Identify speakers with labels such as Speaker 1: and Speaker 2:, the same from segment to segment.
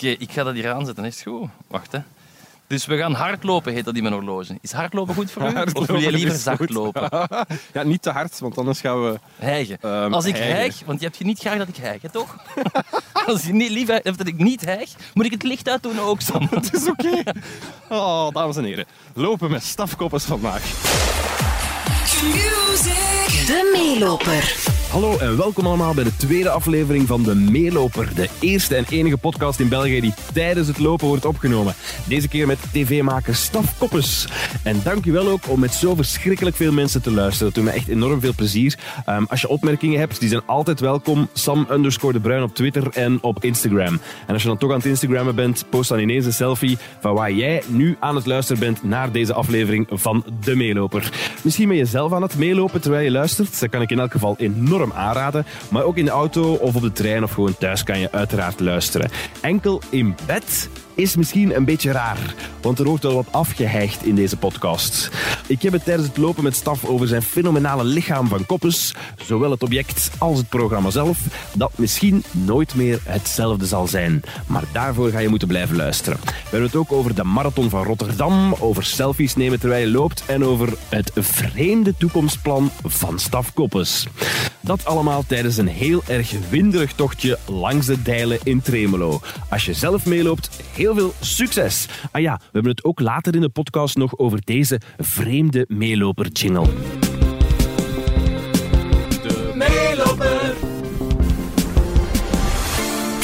Speaker 1: ik ga dat hier aanzetten. Is het goed? Wacht, hè. Dus we gaan hardlopen, heet dat in mijn horloge. Is hardlopen goed voor u? of wil je
Speaker 2: Hardlopen
Speaker 1: liever
Speaker 2: is
Speaker 1: zacht
Speaker 2: goed.
Speaker 1: lopen?
Speaker 2: Ja, niet te hard, want anders gaan we...
Speaker 1: Hijgen.
Speaker 2: Ehm,
Speaker 1: Als ik
Speaker 2: hijgen.
Speaker 1: hijg, want je hebt je niet graag dat ik hijg, hè, toch? Als je niet lief hebt dat ik niet hijg, moet ik het licht uitdoen ook, Sam. Dus-
Speaker 2: Het is oké. Oh, dames en heren. Lopen met stafkoppers vandaag.
Speaker 3: De meeloper.
Speaker 4: Hallo en welkom allemaal bij de tweede aflevering van De Meeloper. De eerste en enige podcast in België die tijdens het lopen wordt opgenomen. Deze keer met tv-maker Staf Koppes. En dankjewel ook om met zo verschrikkelijk veel mensen te luisteren. Dat doet me echt enorm veel plezier. Ehm, als je opmerkingen hebt, die zijn altijd welkom. Sam underscore de Bruin op Twitter en op Instagram. En als je dan toch aan het Instagrammen bent, post dan ineens een selfie van waar jij nu aan het luisteren bent naar deze aflevering van De Meeloper. Misschien ben je zelf aan het meelopen terwijl je luistert. Dat kan ik in elk geval enorm aanraden. Maar ook in de auto of op de trein of gewoon thuis kan je uiteraard luisteren. Enkel in bed is misschien een beetje raar, want er wordt wel wat afgeheigd in deze podcast. Ik heb het tijdens het lopen met Staf over zijn fenomenale lichaam van Koppes, zowel het object als het programma zelf, dat misschien nooit meer hetzelfde zal zijn. Maar daarvoor ga je moeten blijven luisteren. We hebben het ook over de marathon van Rotterdam, over selfies nemen terwijl je loopt en over het vreemde toekomstplan van Staf Koppes. Dat allemaal tijdens een heel erg winderig tochtje langs de Dijlen in Tremelo. Als je zelf meeloopt, heel veel succes! Ah ja, we hebben het ook later in de podcast nog over deze vreemde meeloper-jingle.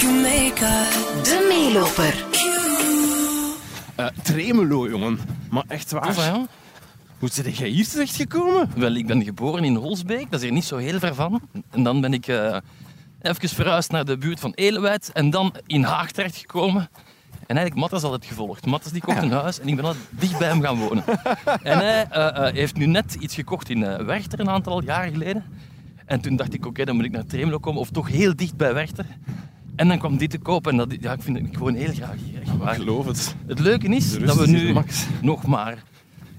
Speaker 3: De meeloper.
Speaker 2: Eh, tremelo, jongen. Maar echt waar.
Speaker 1: Of, hè?
Speaker 2: Hoe zit jij hier terechtgekomen?
Speaker 1: Wel, ik ben geboren in Holsbeek, dat is hier niet zo heel ver van. En dan ben ik eh even verhuisd naar de buurt van Elewijd en dan in Haag terechtgekomen. En eigenlijk, Mattas altijd gevolgd. Mattas die kocht een huis en ik ben al dicht bij hem gaan wonen. En hij eh, eh, heeft nu net iets gekocht in eh, Werchter een aantal jaar geleden. En toen dacht ik, oké, dan moet ik naar Tremelo komen, of toch heel dicht bij Werchter. En dan kwam dit te koop en dat, ja, ik vind ik gewoon heel graag hier. echt waar.
Speaker 2: Ik geloof het.
Speaker 1: Het leuke is
Speaker 2: De rust
Speaker 1: dat we
Speaker 2: is hier
Speaker 1: nu
Speaker 2: de max.
Speaker 1: nog maar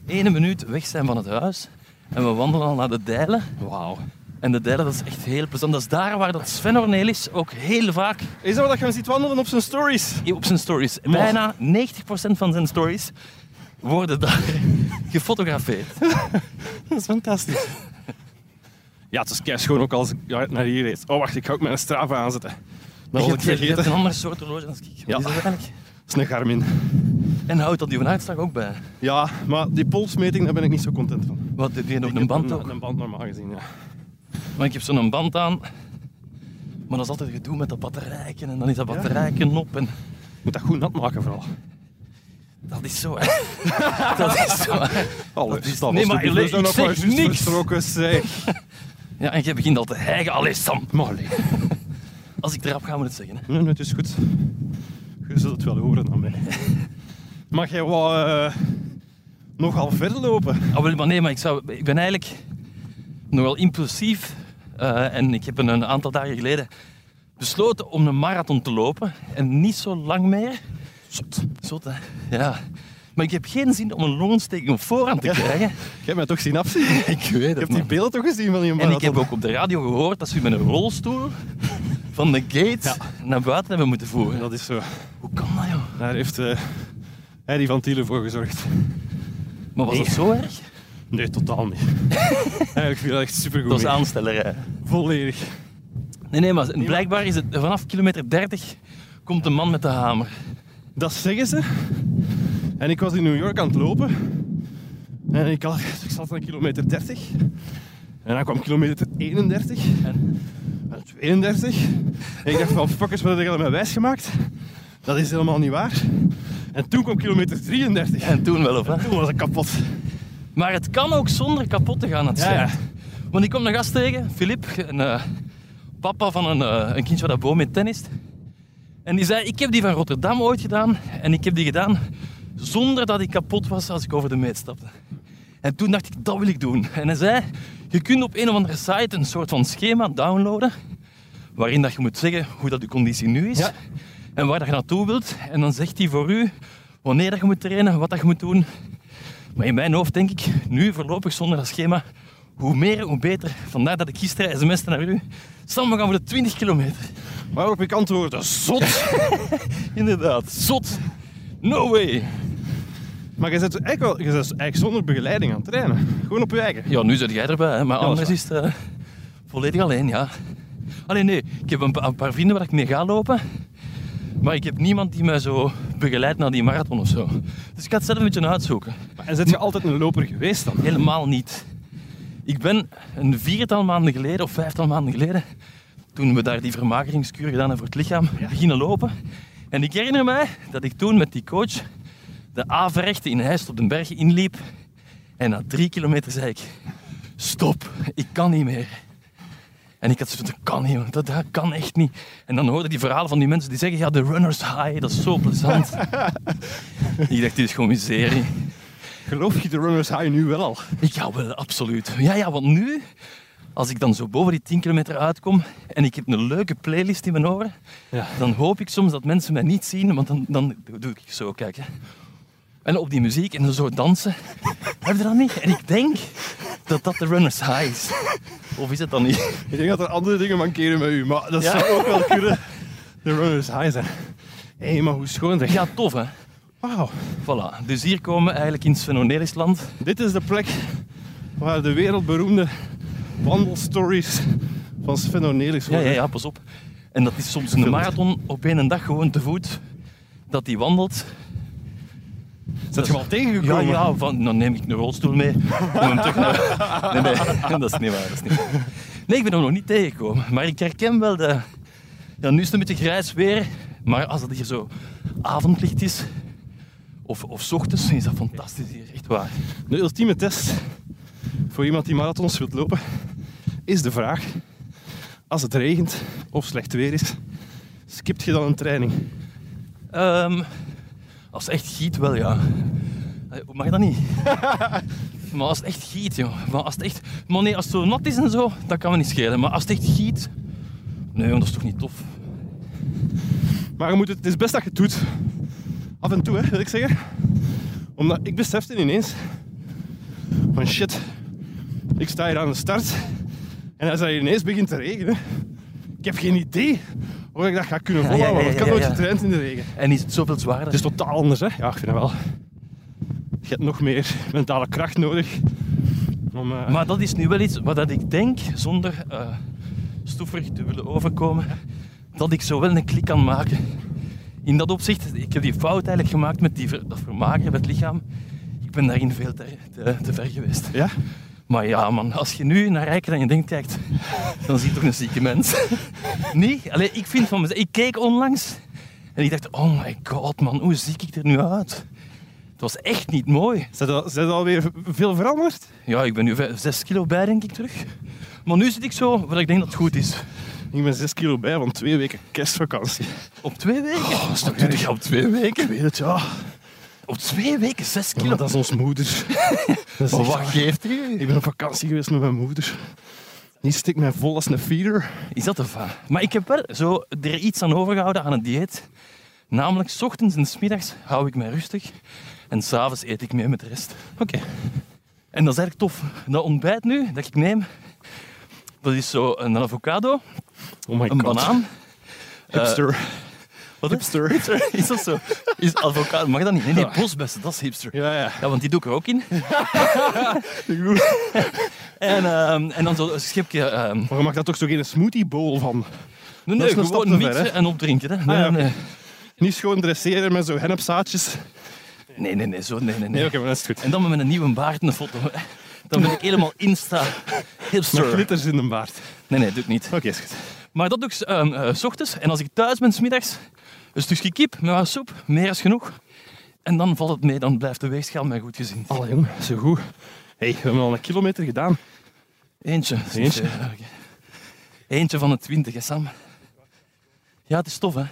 Speaker 1: één minuut weg zijn van het huis. En we wandelen al naar de Dijlen.
Speaker 2: Wauw.
Speaker 1: En de Dijlen, dat is echt heel plezant. Dat is daar waar dat Sven Ornelis ook heel vaak
Speaker 2: Is dat wat je hem ziet wandelen op zijn stories?
Speaker 1: op zijn stories... Bijna 90% van zijn stories worden daar gefotografeerd.
Speaker 2: Dat is fantastisch. Ja, het is keischoon ook als ik naar hier reed. Oh, wacht, ik ga ook mijn Strava aanzetten. Dat
Speaker 1: je,
Speaker 2: was ik
Speaker 1: hebt, je hebt
Speaker 2: vergeten.
Speaker 1: een ander soort horloge dan ik. Wat
Speaker 2: Ja.
Speaker 1: is dat eigenlijk?
Speaker 2: Dat is een Garmin.
Speaker 1: En houdt dat die van uitslag ook bij?
Speaker 2: Ja, maar die polsmeting, daar ben ik niet zo content van.
Speaker 1: Wat, doe je nog
Speaker 2: Ik
Speaker 1: een
Speaker 2: heb
Speaker 1: band ook?
Speaker 2: Een, een band normaal gezien, ja.
Speaker 1: Maar ik heb zo'n band aan. Maar dat is altijd gedoe met dat batterijken. En dan is dat
Speaker 2: Ja?
Speaker 1: batterijken op. En
Speaker 2: Ik moet dat goed nat maken vooral.
Speaker 1: Dat is zo, hè. dat is zo, hè.
Speaker 2: Alles.
Speaker 1: is- nee, maar ik
Speaker 2: dan
Speaker 1: zeg niks.
Speaker 2: Vertrokken, zeg.
Speaker 1: Ja, en jij begint al te hijgen. Allee, Sam.
Speaker 2: Maar allee.
Speaker 1: Als ik eraf ga, moet het zeggen, hè.
Speaker 2: Nee, nee, het is goed. Je zult het wel horen aan mij. Mag jij wel eh, nogal ver lopen?
Speaker 1: Ah, wel, maar nee, maar ik, zou, ik ben eigenlijk nogal impulsief. eh, en ik heb een, een aantal dagen geleden besloten om een marathon te lopen. En niet zo lang meer. Zot. Zot, hè. Ja. Maar ik heb geen zin om een longontsteking op voorhand te krijgen.
Speaker 2: Jij hebt mij toch zien afzien? Ik
Speaker 1: Ik weet
Speaker 2: heb die beelden toch gezien van die
Speaker 1: En ik
Speaker 2: marathon?
Speaker 1: heb ook op de radio gehoord dat ze u met een rolstoel van de gate naar buiten hebben moeten voeren.
Speaker 2: Dat is zo.
Speaker 1: Hoe kan dat, joh?
Speaker 2: Daar heeft eh Harry van Tielen voor gezorgd.
Speaker 1: Maar was dat
Speaker 2: Nee.
Speaker 1: zo erg?
Speaker 2: Nee, totaal niet. Eigenlijk viel dat echt supergoed
Speaker 1: Dat was
Speaker 2: mee.
Speaker 1: aanstellerij.
Speaker 2: Volledig.
Speaker 1: Nee, nee, maar blijkbaar is het vanaf kilometer 30 komt de man met de hamer.
Speaker 2: Dat zeggen ze. En ik was in New York aan het lopen. En ik, had, ik zat aan kilometer 30. En dan kwam kilometer 31.
Speaker 1: En?
Speaker 2: En, 32. En ik dacht van, fuckers, wat heb ik mij wijsgemaakt? Dat is helemaal niet waar. En toen kwam kilometer 33. En
Speaker 1: En toen wel of hè?
Speaker 2: toen was ik kapot.
Speaker 1: Maar het kan ook zonder kapot te gaan, het
Speaker 2: Ja, ja.
Speaker 1: schijnt. Want ik kom een gast tegen, Filip, een eh, papa van een, eh, een kindje dat boom met tennis. En die zei, ik heb die van Rotterdam ooit gedaan. En ik heb die gedaan zonder dat ik kapot was als ik over de meet stapte. En toen dacht ik, dat wil ik doen. En hij zei, je kunt op een of andere site een soort van schema downloaden. Waarin dat je moet zeggen hoe dat je conditie nu is.
Speaker 2: Ja.
Speaker 1: En waar dat je naartoe wilt. En dan zegt hij voor u wanneer dat je moet trainen, wat dat je moet doen. Maar in mijn hoofd denk ik nu voorlopig zonder dat schema Hoe meer, hoe beter. Vandaar dat ik gisteren sms'te naar u. Sam, we gaan voor de 20 kilometer.
Speaker 2: Waarop ik antwoordde, zot.
Speaker 1: Inderdaad, zot. No way.
Speaker 2: Maar je zit eigenlijk, wel, je zit eigenlijk zonder begeleiding aan het trainen. Gewoon op je eigen.
Speaker 1: Ja, nu zit jij erbij, hè, maar
Speaker 2: dat is
Speaker 1: anders is het eh, volledig alleen, ja. Alleen nee, ik heb een, pa- een paar vrienden waar ik mee ga lopen. Maar ik heb niemand die mij zo begeleidt naar die marathon of zo. Dus ik ga het zelf een beetje uitzoeken.
Speaker 2: En zit je altijd een loper geweest dan?
Speaker 1: Helemaal niet. Ik ben een viertal maanden geleden of vijftal maanden geleden, toen we daar die vermageringskuur gedaan hebben voor het lichaam, beginnen lopen. En ik herinner mij dat ik toen met die coach de averechte in Heist op den Berg inliep. En na drie kilometer zei ik, stop, ik kan niet meer. En ik had zoiets van, dat kan niet, jongen, dat, dat kan echt niet. En dan hoorde ik die verhalen van die mensen die zeggen, ja, de runner's high, dat is zo plezant. ik dacht, dit is gewoon miserie.
Speaker 2: Geloof je de runners high nu wel al?
Speaker 1: Ik ja, wel, absoluut. Ja, ja, want nu, als ik dan zo boven die 10 kilometer uitkom en ik heb een leuke playlist in mijn oren,
Speaker 2: Ja.
Speaker 1: dan hoop ik soms dat mensen mij niet zien, want dan, dan doe ik zo, kijk. Hè. En op die muziek en dan zo dansen. Heb je dat niet? En ik denk dat dat de runner's high is. Of is het dan niet?
Speaker 2: Ik denk dat er andere dingen mankeren met u, maar dat
Speaker 1: Ja.
Speaker 2: zou ook wel kunnen de runners high zijn. Hé, maar hoe schoon zeg.
Speaker 1: Ja, tof hè.
Speaker 2: Wauw.
Speaker 1: Voilà. Dus hier komen we eigenlijk in Svenonelischland.
Speaker 2: Dit is de plek waar de wereldberoemde wandelstories van Sven Ornelis
Speaker 1: Ja, ja,
Speaker 2: worden.
Speaker 1: ja, pas op. En dat is soms een marathon op één dag gewoon te voet. Dat die wandelt
Speaker 2: Zet je wel
Speaker 1: Ja,
Speaker 2: tegengekomen?
Speaker 1: ja, van, dan neem ik een rolstoel mee om hem terug naar... Nee, nee, dat is niet waar. Dat is niet waar. Nee, ik ben hem nog niet tegengekomen. Maar ik herken wel de... Ja, nu is het een beetje grijs weer. Maar als het hier zo avondlicht is, of, of 's ochtends, is dat fantastisch hier. Echt waar.
Speaker 2: De ultieme test voor iemand die marathons wilt lopen is de vraag: als het regent of slecht weer is, skipt je dan een training?
Speaker 1: Ehm, als het echt giet, wel ja. Eh, Mag dat niet? maar als het echt giet, joh. Maar als het echt... Maar nee, als het zo nat is en zo, dat kan me niet schelen. Maar als het echt giet... Nee, want dat is toch niet tof?
Speaker 2: Maar je moet het, het is best dat je het doet. Af en toe, hè, wil ik zeggen. Omdat ik besefte ineens van shit, ik sta hier aan de start en als het ineens begint te regenen, ik heb geen idee hoe ik dat ga kunnen
Speaker 1: Ja, ja, ja,
Speaker 2: volhouden. want ik
Speaker 1: ja,
Speaker 2: heb nooit
Speaker 1: ja.
Speaker 2: getraind in de regen.
Speaker 1: En is het zoveel zwaarder?
Speaker 2: Het is totaal anders, hè? Ja, ik vind het wel. Je hebt nog meer mentale kracht nodig. Om, eh,
Speaker 1: Maar dat is nu wel iets wat dat ik denk, zonder eh stoeverig te willen overkomen, dat ik zo wel een klik kan maken. In dat opzicht, ik heb die fout eigenlijk gemaakt met die ver, dat vermageren met het lichaam. Ik ben daarin veel te, te, te ver geweest.
Speaker 2: Ja?
Speaker 1: Maar ja, man, als je nu naar Rijken en je denkt, kijkt, dan zie je toch een zieke mens. Nee? Allee, ik vind van mezelf... Ik keek onlangs en ik dacht, oh my god, man, hoe zie ik er nu uit? Het was echt niet mooi.
Speaker 2: Zijn er, zijn er alweer veel veranderd?
Speaker 1: Ja, ik ben nu vijf- zes kilo bij, denk ik, terug. Maar nu zit ik zo, wat ik denk dat het goed is.
Speaker 2: Ik ben 6 kilo bij van twee weken kerstvakantie.
Speaker 1: Op twee weken? Oh,
Speaker 2: toch
Speaker 1: doe je op twee
Speaker 2: Ik
Speaker 1: weken?
Speaker 2: weet het, ja.
Speaker 1: Op twee weken zes
Speaker 2: Ja,
Speaker 1: kilo?
Speaker 2: dat is ons moeder. Dat is
Speaker 1: Maar
Speaker 2: echt
Speaker 1: wat
Speaker 2: waar.
Speaker 1: geeft u?
Speaker 2: Ik ben op vakantie geweest met mijn moeder. Die stikt mij vol als een feeder.
Speaker 1: Is dat een va? Maar ik heb wel zo er iets aan overgehouden aan het dieet. Namelijk, 's ochtends en 's middags hou ik mij rustig. En s'avonds eet ik mee met de rest.
Speaker 2: Oké.
Speaker 1: En dat is eigenlijk tof. Dat ontbijt nu, dat ik neem, dat is zo een avocado,
Speaker 2: Oh my
Speaker 1: een
Speaker 2: god.
Speaker 1: banaan. Eh,
Speaker 2: Hipster.
Speaker 1: Wat is-
Speaker 2: hipster.
Speaker 1: Is dat zo? Is avocado, mag dat niet? Nee, nee, bosbessen, dat is hipster.
Speaker 2: Ja, ja.
Speaker 1: Ja, want die doe ik er ook in. en, ehm, en dan zo'n schipje. ehm
Speaker 2: Maar je maakt daar toch zo geen smoothie bowl van?
Speaker 1: nee,
Speaker 2: Dat
Speaker 1: nee,
Speaker 2: is een stap
Speaker 1: gewoon
Speaker 2: te ver,
Speaker 1: mixen
Speaker 2: hè?
Speaker 1: en opdrinken. Hè. Nee,
Speaker 2: Ah, ja, oké.
Speaker 1: nee.
Speaker 2: Niet schoon dresseren met zo hennepzaadjes.
Speaker 1: nee, nee, nee, zo, nee, nee,
Speaker 2: Nee,
Speaker 1: nee.
Speaker 2: oké, maar dat is goed.
Speaker 1: En dan met een nieuwe baard en een foto. hè. Dan ben ik helemaal insta
Speaker 2: Met
Speaker 1: hipster.
Speaker 2: glitters in de baard.
Speaker 1: Nee, nee, doe ik niet.
Speaker 2: Oké, is goed.
Speaker 1: Maar dat doe ik ehm, eh, s ochtends. En als ik thuis ben, s middags, een stukje kip met wat soep, meer is genoeg. En dan valt het mee, dan blijft de weegschaal mij goed gezien.
Speaker 2: Alle jongen, zo goed. hey, we hebben al een kilometer gedaan.
Speaker 1: Eentje.
Speaker 2: Eentje?
Speaker 1: Ja, oké. Eentje van de twintig, hè, Sam. Ja, het is tof, hè?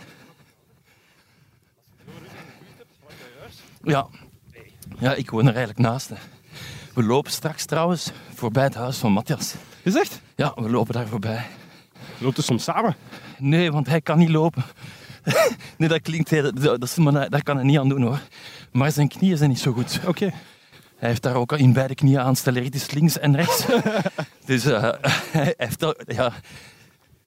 Speaker 1: Ja. Ja, ik woon er eigenlijk naast. Hè. We lopen straks trouwens voorbij het huis van Matthias.
Speaker 2: Is echt?
Speaker 1: Ja, we lopen daar voorbij.
Speaker 2: Loopt dus soms samen?
Speaker 1: Nee, want hij kan niet lopen. Nee, dat klinkt heel... Dat, dat, is- maar daar daar kan hij niet aan doen, hoor. Maar zijn knieën zijn niet zo goed.
Speaker 2: Oké.
Speaker 1: Hij Hij heeft daar ook in beide knieën aan stelleritis links en rechts. dus eh, hij heeft ook... Ja,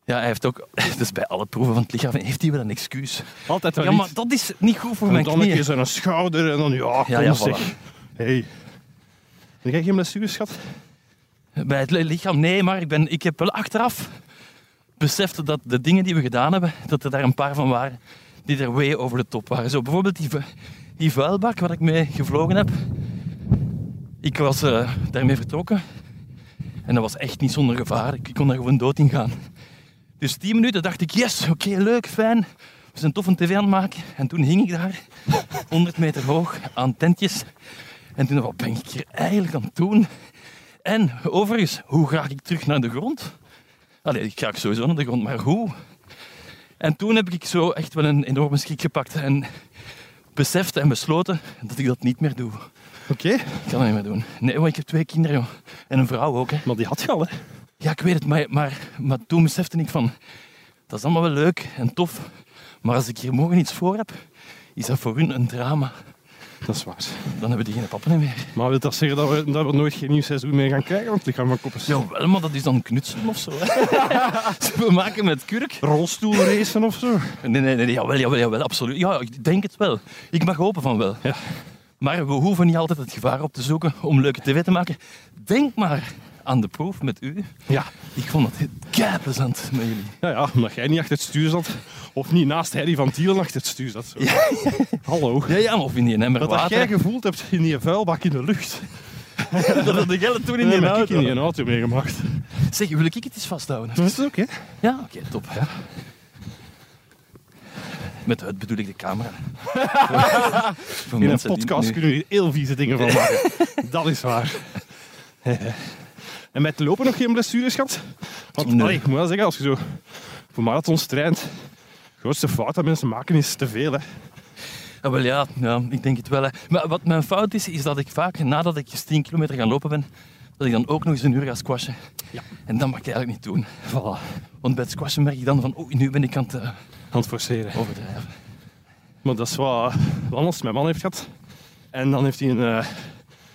Speaker 1: ja, hij heeft ook... Dus bij alle proeven van het lichaam heeft hij wel een excuus.
Speaker 2: Altijd wel
Speaker 1: Ja, maar
Speaker 2: iets.
Speaker 1: dat is niet goed voor
Speaker 2: En
Speaker 1: mijn
Speaker 2: dan een keer
Speaker 1: knieën.
Speaker 2: zo'n schouder en dan ja, kom
Speaker 1: Ja, ja,
Speaker 2: zeg.
Speaker 1: voilà.
Speaker 2: Hey. Heb jij geen blessures gehad?
Speaker 1: Bij het lichaam, nee, maar ik, ben, ik heb wel achteraf beseft dat de dingen die we gedaan hebben, dat er daar een paar van waren die er way over de top waren. Zo bijvoorbeeld die, vu- die vuilbak waar ik mee gevlogen heb. Ik was eh, daarmee vertrokken en dat was echt niet zonder gevaar. Ik, ik kon daar gewoon dood in gaan. Dus tien minuten dacht ik, yes, oké, leuk, fijn. We zijn tof een tv aan het maken. En toen hing ik daar, 100 meter hoog, aan tentjes. En toen, wat ben ik hier eigenlijk aan het doen? En overigens, hoe ga ik terug naar de grond? Allee, ik ga sowieso naar de grond, maar hoe? En toen heb ik zo echt wel een enorme schrik gepakt en beseft en besloten dat ik dat niet meer doe.
Speaker 2: Oké.
Speaker 1: Ik kan dat niet meer doen. Nee, want ik heb twee kinderen joh. en een vrouw ook. Hè.
Speaker 2: Maar die had je al, hè?
Speaker 1: Ja, ik weet het, maar, maar, maar toen besefte ik van, dat is allemaal wel leuk en tof, maar als ik hier morgen iets voor heb, is dat voor hun een drama.
Speaker 2: Dat is waar.
Speaker 1: Dan hebben die geen pappen meer.
Speaker 2: Maar wil dat zeggen dat we, dat we nooit geen nieuw seizoen meer gaan krijgen? Want ik ga maar koppen.
Speaker 1: Jawel, maar dat is dan knutselen of zo. hè. We maken met kurk.
Speaker 2: Rolstoelracen of zo?
Speaker 1: Nee, nee, nee, jawel, jawel, jawel, absoluut. Ja, ik denk het wel. Ik mag hopen van wel.
Speaker 2: Ja.
Speaker 1: Maar we hoeven niet altijd het gevaar op te zoeken om leuke tv te maken. Denk maar aan de proef met u.
Speaker 2: Ja.
Speaker 1: Ik vond het keiplezant met jullie.
Speaker 2: Ja, ja, omdat jij niet achter het stuur zat. Of niet naast Harry van Tielen achter het stuur zat. Zo. Hallo.
Speaker 1: Ja, ja, of in die emmer
Speaker 2: Dat, dat
Speaker 1: water.
Speaker 2: jij gevoeld hebt in die vuilbak in de lucht.
Speaker 1: dat had de gelle toen in
Speaker 2: Nee,
Speaker 1: die nou
Speaker 2: maar ik heb
Speaker 1: auto.
Speaker 2: in die auto meegemaakt.
Speaker 1: Zeg, wil ik het eens vasthouden?
Speaker 2: Dat is ook, hè?
Speaker 1: Ja, oké, top. Ja. Met het bedoel ik de camera. Voor
Speaker 2: In een
Speaker 1: mensen die
Speaker 2: podcast
Speaker 1: nu-
Speaker 2: kunnen we hier heel vieze dingen van maken. dat is waar. en met lopen nog geen blessures gehad? Want
Speaker 1: Nee.
Speaker 2: allee, ik moet wel zeggen, als je zo voor marathons traint, de grootste fout dat mensen maken is te veel. Hè.
Speaker 1: Ja, Ah, wel ja, ja, ik denk het wel. Hè. Maar wat mijn fout is, is dat ik vaak nadat ik 10 kilometer gaan lopen ben, dat ik dan ook nog eens een uur ga squashen.
Speaker 2: Ja.
Speaker 1: En dat mag ik eigenlijk niet doen. Voilà. Want bij het squashen merk ik dan van, oeh, nu ben ik aan het eh,
Speaker 2: Aan het forceren.
Speaker 1: overdrijven.
Speaker 2: Maar dat is wat Wannes, mijn man, heeft gehad. En dan heeft hij een, eh,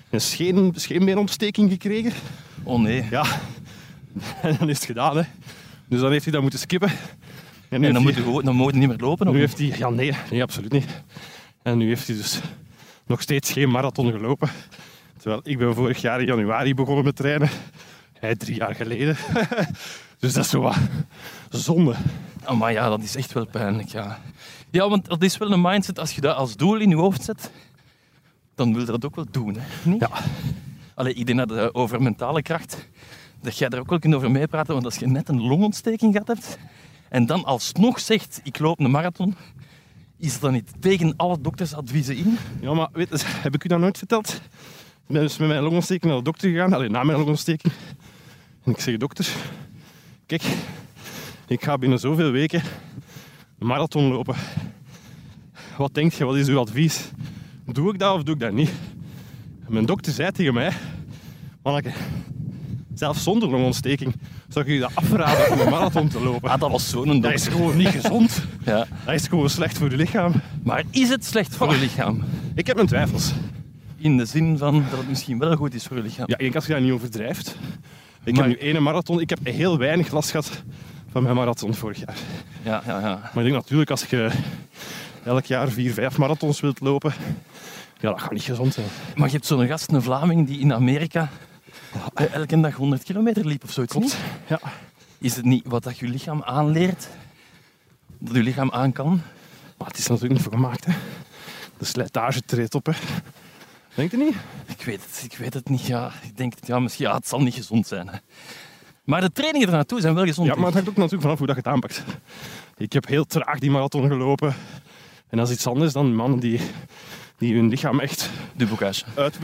Speaker 2: een scheen, scheenbeenontsteking gekregen.
Speaker 1: Oh nee.
Speaker 2: Ja, en dan is het gedaan. Hè. Dus dan heeft hij dat moeten skippen. En nu
Speaker 1: En dan
Speaker 2: heeft
Speaker 1: moet je
Speaker 2: hij-
Speaker 1: gewoon, dan moet je niet meer lopen. of
Speaker 2: Nu
Speaker 1: niet?
Speaker 2: heeft hij... Ja, nee, nee, absoluut niet. En nu heeft hij dus nog steeds geen marathon gelopen. Terwijl ik ben vorig jaar in januari begonnen met trainen. Hij drie jaar geleden. dus dat is zo wat zonde.
Speaker 1: Ah, maar ja, dat is echt wel pijnlijk, ja. Ja, want dat is wel een mindset. Als je dat als doel in je hoofd zet, dan wil je dat ook wel doen, hè? Niet?
Speaker 2: Ja.
Speaker 1: Allee, ik denk dat eh, over mentale kracht, dat jij daar ook wel kunt over meepraten. Want als je net een longontsteking gehad hebt, en dan alsnog zegt, ik loop een marathon, is dat dan niet tegen alle doktersadviezen in?
Speaker 2: Ja, maar weet, je, heb ik u dat nooit verteld? Ik ben dus met mijn longontsteking naar de dokter gegaan. Alleen na mijn longontsteking. En ik zeg, dokter, kijk, ik ga binnen zoveel weken een marathon lopen. Wat denkt je, wat is uw advies? Doe ik dat of doe ik dat niet? En mijn dokter zei tegen mij, manneke, zelfs zonder longontsteking zou ik je dat afraden om een marathon te lopen.
Speaker 1: Ah, dat was zo'n
Speaker 2: Dat is
Speaker 1: dokter.
Speaker 2: gewoon niet gezond.
Speaker 1: Ja.
Speaker 2: Dat is gewoon slecht voor je lichaam.
Speaker 1: Maar is het slecht
Speaker 2: Ah.
Speaker 1: voor je lichaam?
Speaker 2: Ik heb mijn twijfels.
Speaker 1: In de zin van dat het misschien wel goed is voor je lichaam.
Speaker 2: Ja, ik denk als je dat niet overdrijft. Ik
Speaker 1: Maar-
Speaker 2: heb nu één marathon. Ik heb heel weinig last gehad van mijn marathon vorig jaar.
Speaker 1: ja, ja. ja.
Speaker 2: Maar ik denk natuurlijk als je elk jaar vier, vijf marathons wilt lopen, ja, dat gaat niet gezond zijn.
Speaker 1: Maar je hebt zo'n gast, een Vlaming, die in Amerika eh, elke dag 100 kilometer liep of zoiets.
Speaker 2: Oh. Klopt.
Speaker 1: niet?
Speaker 2: Ja.
Speaker 1: Is het niet wat dat je lichaam aanleert, dat je lichaam aan kan?
Speaker 2: Maar het is natuurlijk niet voor gemaakt. Hè. De slijtage treedt op. Hè. Denkt u niet?
Speaker 1: Ik weet het, ik weet het niet. Ja, ik denk, het, ja, misschien, ja, het zal niet gezond zijn. Hè. Maar de trainingen ernaartoe zijn wel gezond.
Speaker 2: Ja, maar het
Speaker 1: denk
Speaker 2: hangt ook natuurlijk vanaf hoe dat je het aanpakt. Ik heb heel traag die marathon gelopen. En dat is iets anders dan mannen die, die hun lichaam echt
Speaker 1: ik. De boekage.
Speaker 2: Uit...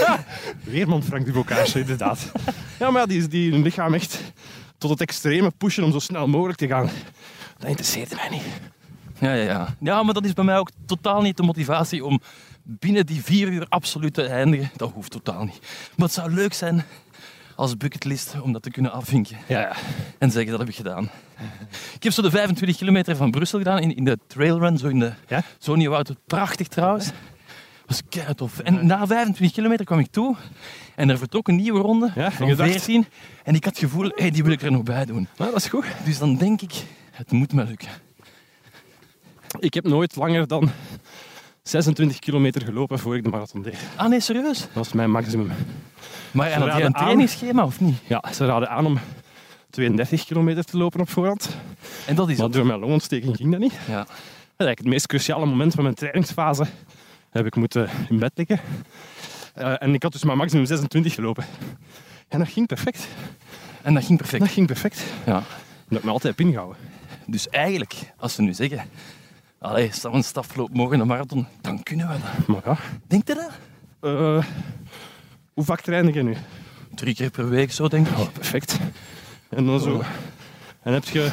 Speaker 2: Weerman Frank Dubocage, inderdaad. Ja, maar ja, die, die hun lichaam echt tot het extreme pushen om zo snel mogelijk te gaan. Dat interesseert mij niet.
Speaker 1: Ja, ja, ja. ja, maar dat is bij mij ook totaal niet de motivatie om binnen die vier uur absoluut te eindigen. Dat hoeft totaal niet. Maar het zou leuk zijn als bucketlist om dat te kunnen afvinken.
Speaker 2: Ja, ja.
Speaker 1: En zeggen dat heb ik gedaan. Ik heb zo de 25 kilometer van Brussel gedaan in, in de trailrun, zo in de
Speaker 2: Ja?
Speaker 1: Zoniewoud. Prachtig trouwens. was keihard tof. En na 25 kilometer kwam ik toe en er vertrok een nieuwe ronde
Speaker 2: Ja, en
Speaker 1: van
Speaker 2: je dacht-
Speaker 1: 14. En ik had het gevoel, hey, die wil ik er nog bij doen.
Speaker 2: dat is goed.
Speaker 1: Dus dan denk ik, het moet me lukken.
Speaker 2: Ik heb nooit langer dan 26 kilometer gelopen voor ik de marathon deed.
Speaker 1: Ah nee, serieus?
Speaker 2: Dat was mijn maximum.
Speaker 1: Maar en had
Speaker 2: raden
Speaker 1: jij een
Speaker 2: aan.
Speaker 1: trainingsschema of niet?
Speaker 2: Ja, ze raden aan om 32 kilometer te lopen op voorhand.
Speaker 1: En dat is
Speaker 2: Maar
Speaker 1: het.
Speaker 2: door mijn longontsteking ging dat niet.
Speaker 1: Ja.
Speaker 2: Eigenlijk het meest cruciale moment van mijn trainingsfase heb ik moeten in bed liggen. Eh, en ik had dus maar maximum 26 gelopen. En dat ging perfect.
Speaker 1: En dat ging
Speaker 2: Dat
Speaker 1: perfect.
Speaker 2: ging perfect.
Speaker 1: Ja.
Speaker 2: Dat ik me altijd heb ingehouden.
Speaker 1: Dus eigenlijk, als ze nu zeggen, allee, stel een staf loopt morgen een marathon, dan kunnen we dat.
Speaker 2: Maar ja,
Speaker 1: Denkt je dat?
Speaker 2: eh, hoe vaak train ik er nu?
Speaker 1: Drie keer per week, zo denk ik.
Speaker 2: Oh, perfect. En dan zo. En heb je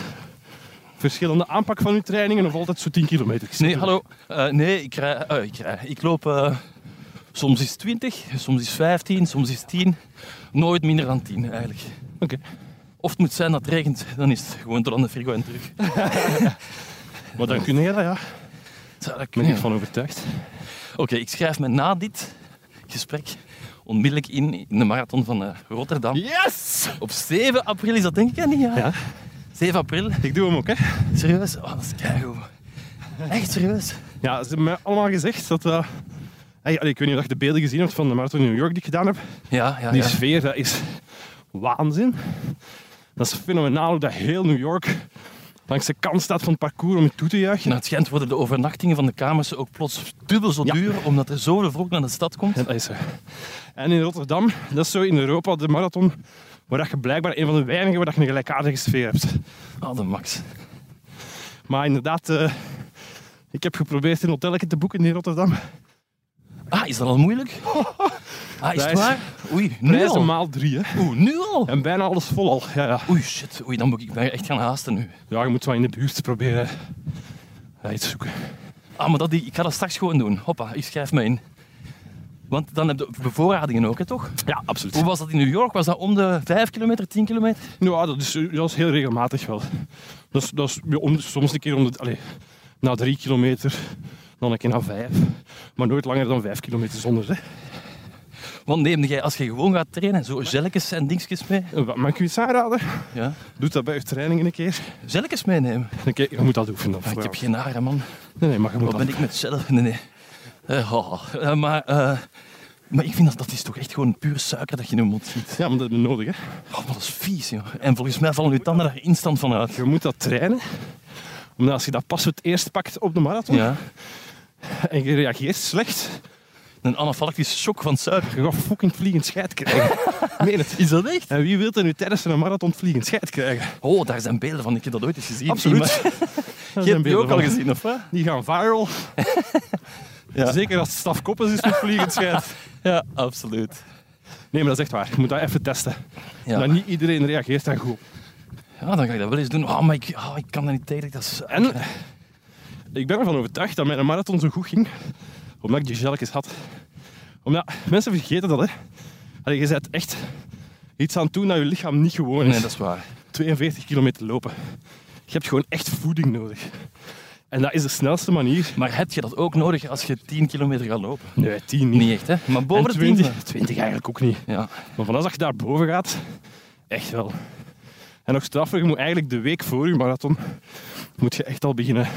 Speaker 2: verschillende aanpak van je trainingen of altijd zo 10 kilometer? Ik snap
Speaker 1: Nee,
Speaker 2: het.
Speaker 1: hallo. Eh, nee, ik, rij, eh, ik, rij. ik loop eh, soms is 20, soms is 15, soms is 10. Nooit minder dan 10 eigenlijk.
Speaker 2: Oké.
Speaker 1: Of het moet zijn dat het regent, dan is het gewoon tot aan de frigo en terug.
Speaker 2: Maar dan kun je dat, ja. Daar
Speaker 1: Zou dat
Speaker 2: ben
Speaker 1: kunnen?
Speaker 2: ik van overtuigd.
Speaker 1: Oké, ik schrijf me na dit gesprek onmiddellijk in in de marathon van eh, Rotterdam.
Speaker 2: Yes!
Speaker 1: Op 7 april is dat denk ik, hè, niet? Ja.
Speaker 2: Ja,
Speaker 1: 7 april,
Speaker 2: ik doe hem ook, hè.
Speaker 1: serieus? Oh, dat is keigoed. Echt serieus?
Speaker 2: Ja, ze hebben mij allemaal gezegd dat... eh, hey, allee, ik weet niet of je de beelden gezien hebt van de marathon in New York die ik gedaan heb.
Speaker 1: Ja, ja,
Speaker 2: Die
Speaker 1: ja.
Speaker 2: sfeer, dat is waanzin. Dat is fenomenaal hoe dat heel New York langs de kant staat van het parcours om je toe te juichen.
Speaker 1: Naar het schijnt worden de overnachtingen van de kamers ook plots dubbel zo
Speaker 2: Ja.
Speaker 1: duur, omdat er zoveel volk naar de stad komt.
Speaker 2: Ja, dat is zo. En in Rotterdam, dat is zo in Europa de marathon, waar dat je blijkbaar een van de weinigen waar dat je een gelijkaardige sfeer hebt.
Speaker 1: Ah, de max.
Speaker 2: Maar inderdaad, eh, ik heb geprobeerd een hotelletje te boeken in Rotterdam.
Speaker 1: Ah, is dat al moeilijk? Ah, is
Speaker 2: Dat
Speaker 1: het
Speaker 2: is-
Speaker 1: waar? Oei, nu
Speaker 2: Prijzen
Speaker 1: al?
Speaker 2: maal drie, hè.
Speaker 1: Oeh, nu al?
Speaker 2: En bijna alles vol al. Ja, ja.
Speaker 1: Oei, shit. Oei, dan moet ik me echt gaan haasten nu.
Speaker 2: ja, je moet wel in de buurt proberen ja, iets zoeken.
Speaker 1: Ah, maar dat, ik ga dat straks gewoon doen. Hoppa, ik schrijf me in. Want dan heb je bevoorradingen ook, hè, toch?
Speaker 2: Ja, absoluut.
Speaker 1: Hoe was dat in New York? Was dat om de 5 kilometer, 10 kilometer?
Speaker 2: Nou, dat is, dat is heel regelmatig wel. Dat is, dat is ja, om- soms een keer om de, allee, na drie kilometer, dan een keer na vijf. Maar nooit langer dan vijf kilometer zonder. Hè.
Speaker 1: Want neemde jij, als je gewoon gaat trainen, zo zelletjes en dingetjes mee?
Speaker 2: En Wat mag ik u eens aanraden?
Speaker 1: Ja.
Speaker 2: Doe dat bij uw trainingen een keer.
Speaker 1: Zelletjes meenemen?
Speaker 2: Een keer je moet dat oefenen.
Speaker 1: Ah, ik heb geen haren, man.
Speaker 2: Nee, nee, maar je moet
Speaker 1: Wat
Speaker 2: dat
Speaker 1: ben ik met zelf? Nee, nee. Eh, oh, eh, maar, eh, maar ik vind dat dat is toch echt gewoon puur suiker dat je in je mond ziet.
Speaker 2: Ja, maar dat is nodig. Hè.
Speaker 1: Oh, maar dat is vies, joh. En volgens mij vallen uw tanden daar instant van uit.
Speaker 2: Je moet dat trainen. Omdat als je dat pas het eerst pakt op de marathon
Speaker 1: Ja.
Speaker 2: en je reageert slecht,
Speaker 1: Een anafylactische shock van suiker.
Speaker 2: je gaat fucking vliegend scheid krijgen. Meen het.
Speaker 1: Is dat echt?
Speaker 2: En wie wil er nu tijdens een marathon vliegend scheid krijgen?
Speaker 1: Oh, daar zijn beelden van. Ik heb dat ooit eens gezien.
Speaker 2: Absoluut.
Speaker 1: Iemand-
Speaker 2: Daar
Speaker 1: Je
Speaker 2: zijn
Speaker 1: hebt die
Speaker 2: beelden
Speaker 1: ook al
Speaker 2: van.
Speaker 1: gezien, of wat?
Speaker 2: Die gaan viral.
Speaker 1: Ja.
Speaker 2: Zeker als het Staf Koppens is met vliegend scheid.
Speaker 1: Ja, absoluut.
Speaker 2: Nee, maar dat is echt waar. Je moet dat even testen.
Speaker 1: Ja.
Speaker 2: Dat niet iedereen reageert daar goed op.
Speaker 1: ja, dan ga ik dat wel eens doen. Oh, maar ik, oh, ik kan dat niet tegen. Dat is...
Speaker 2: En ik ben ervan overtuigd dat mijn marathon zo goed ging, omdat ik die gelletjes had. Omdat mensen vergeten dat, hè. Allee, je bent echt iets aan het doen dat je lichaam niet gewoon is.
Speaker 1: Nee, dat is waar.
Speaker 2: 42 kilometer lopen. Je hebt gewoon echt voeding nodig. En dat is de snelste manier.
Speaker 1: Maar heb je dat ook nodig als je 10 kilometer gaat lopen?
Speaker 2: Nee, 10 niet.
Speaker 1: Niet echt, hè? Maar boven
Speaker 2: Hm.
Speaker 1: de 10?
Speaker 2: En 20, 20 eigenlijk ook niet.
Speaker 1: Ja.
Speaker 2: Maar vanaf dat je daar boven gaat, echt wel. En nog straffer, je moet eigenlijk de week voor je marathon, moet je echt al beginnen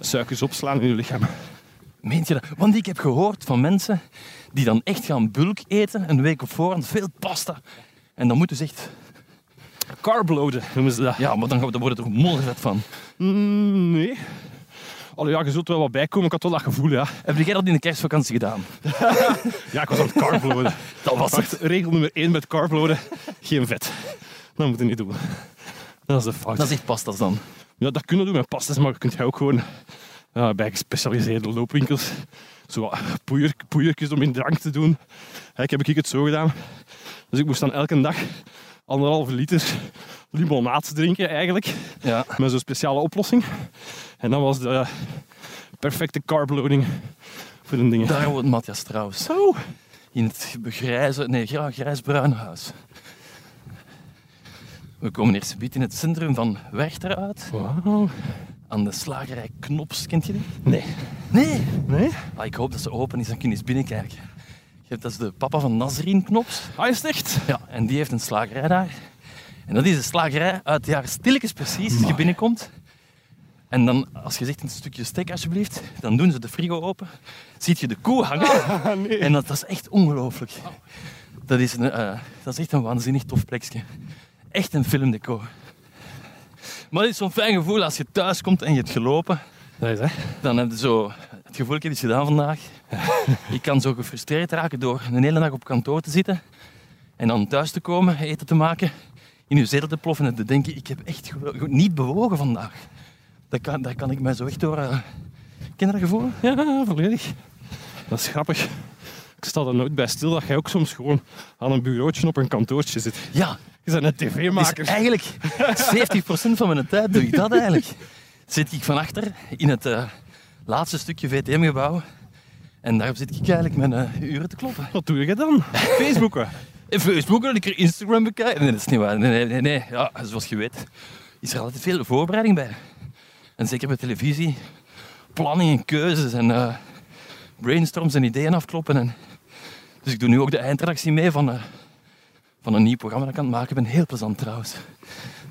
Speaker 2: suikers opslaan in je lichaam.
Speaker 1: Meent je dat? Want ik heb gehoord van mensen die dan echt gaan bulk eten, een week op voorhand, veel pasta. En dan moeten ze echt...
Speaker 2: Carbloaden noemen ze dat.
Speaker 1: Ja, maar dan, gaan we- dan wordt het er moldervet van.
Speaker 2: Mm, nee. Allee, ja, je zult wel wat bijkomen. Ik had wel dat gevoel, ja.
Speaker 1: Heb jij dat in de kerstvakantie gedaan?
Speaker 2: Ja, ik was aan het carbloaden.
Speaker 1: Dat was
Speaker 2: Wacht,
Speaker 1: het.
Speaker 2: regel nummer 1 met carbloaden. Geen vet. Dat moet je niet doen. Dat is de fout.
Speaker 1: Dat is echt pasta's dan.
Speaker 2: Ja, dat kunnen we doen met pastas, maar je kunt je ook gewoon ja, bij gespecialiseerde loopwinkels zo wat poeier, poeiertjes om in drank te doen. Hè, Ik heb ik het zo gedaan. Dus ik moest dan elke dag anderhalve liter limonaat drinken eigenlijk.
Speaker 1: Ja.
Speaker 2: Met zo'n speciale oplossing. En dat was de eh, perfecte carbloading voor de dingen.
Speaker 1: Daar woont Matthias trouwens.
Speaker 2: Zo!
Speaker 1: In het grijze, nee, ja, grijsbruin huis. We komen eerst een beetje in het centrum van Werchter uit.
Speaker 2: Wauw.
Speaker 1: Aan de slagerij Knops, kent je die?
Speaker 2: Nee.
Speaker 1: Nee.
Speaker 2: Nee?
Speaker 1: Ah, ik hoop dat ze open is, dan kun je eens binnenkijken. Je hebt- Dat is de papa van Nazrin Knops.
Speaker 2: Ah, is het echt?
Speaker 1: Ja, en die heeft een slagerij daar. En dat is een slagerij uit de jaren stilletjes precies, als je binnenkomt. En dan, als je zegt een stukje steak alsjeblieft, dan doen ze de frigo open. Ziet je de koe hangen.
Speaker 2: Ah, nee.
Speaker 1: En dat, dat is echt ongelooflijk. Dat is, een, eh, dat is echt een waanzinnig tof plekje. Echt een filmdeco. Maar het is zo'n fijn gevoel als je thuis komt en je hebt gelopen.
Speaker 2: Dat is hè?
Speaker 1: Dan heb je zo het gevoel, ik heb iets gedaan vandaag. Ik kan zo gefrustreerd raken door een hele dag op kantoor te zitten. En dan thuis te komen, eten te maken. In uw zetel te ploffen en te denken, ik heb echt gewo- goed niet bewogen vandaag. Dat kan, dat kan ik mij zo echt door... eh, Ken je dat gevoel?
Speaker 2: Ja, volledig. Dat is grappig. Ik sta er nooit bij stil dat jij ook soms gewoon aan een bureautje op een kantoortje zit.
Speaker 1: Ja,
Speaker 2: Je bent een
Speaker 1: Dus
Speaker 2: tv-maker.
Speaker 1: eigenlijk 70% van mijn tijd doe ik dat eigenlijk. Zit ik van achter in het eh, laatste stukje VTM-gebouw. En daarop zit ik eigenlijk mijn eh, uren te kloppen.
Speaker 2: Wat doe je dan? Facebooken.
Speaker 1: En Facebook dat ik er Instagram bekijk. Nee, dat is niet waar. Nee, nee, nee. nee. Ja, zoals je weet is er altijd veel voorbereiding bij. En zeker bij televisie. Planning en keuzes en eh, brainstorms en ideeën afkloppen. En... Dus ik doe nu ook de eindredactie mee van, eh, van een nieuw programma dat ik aan het maken ben. Heel plezant trouwens.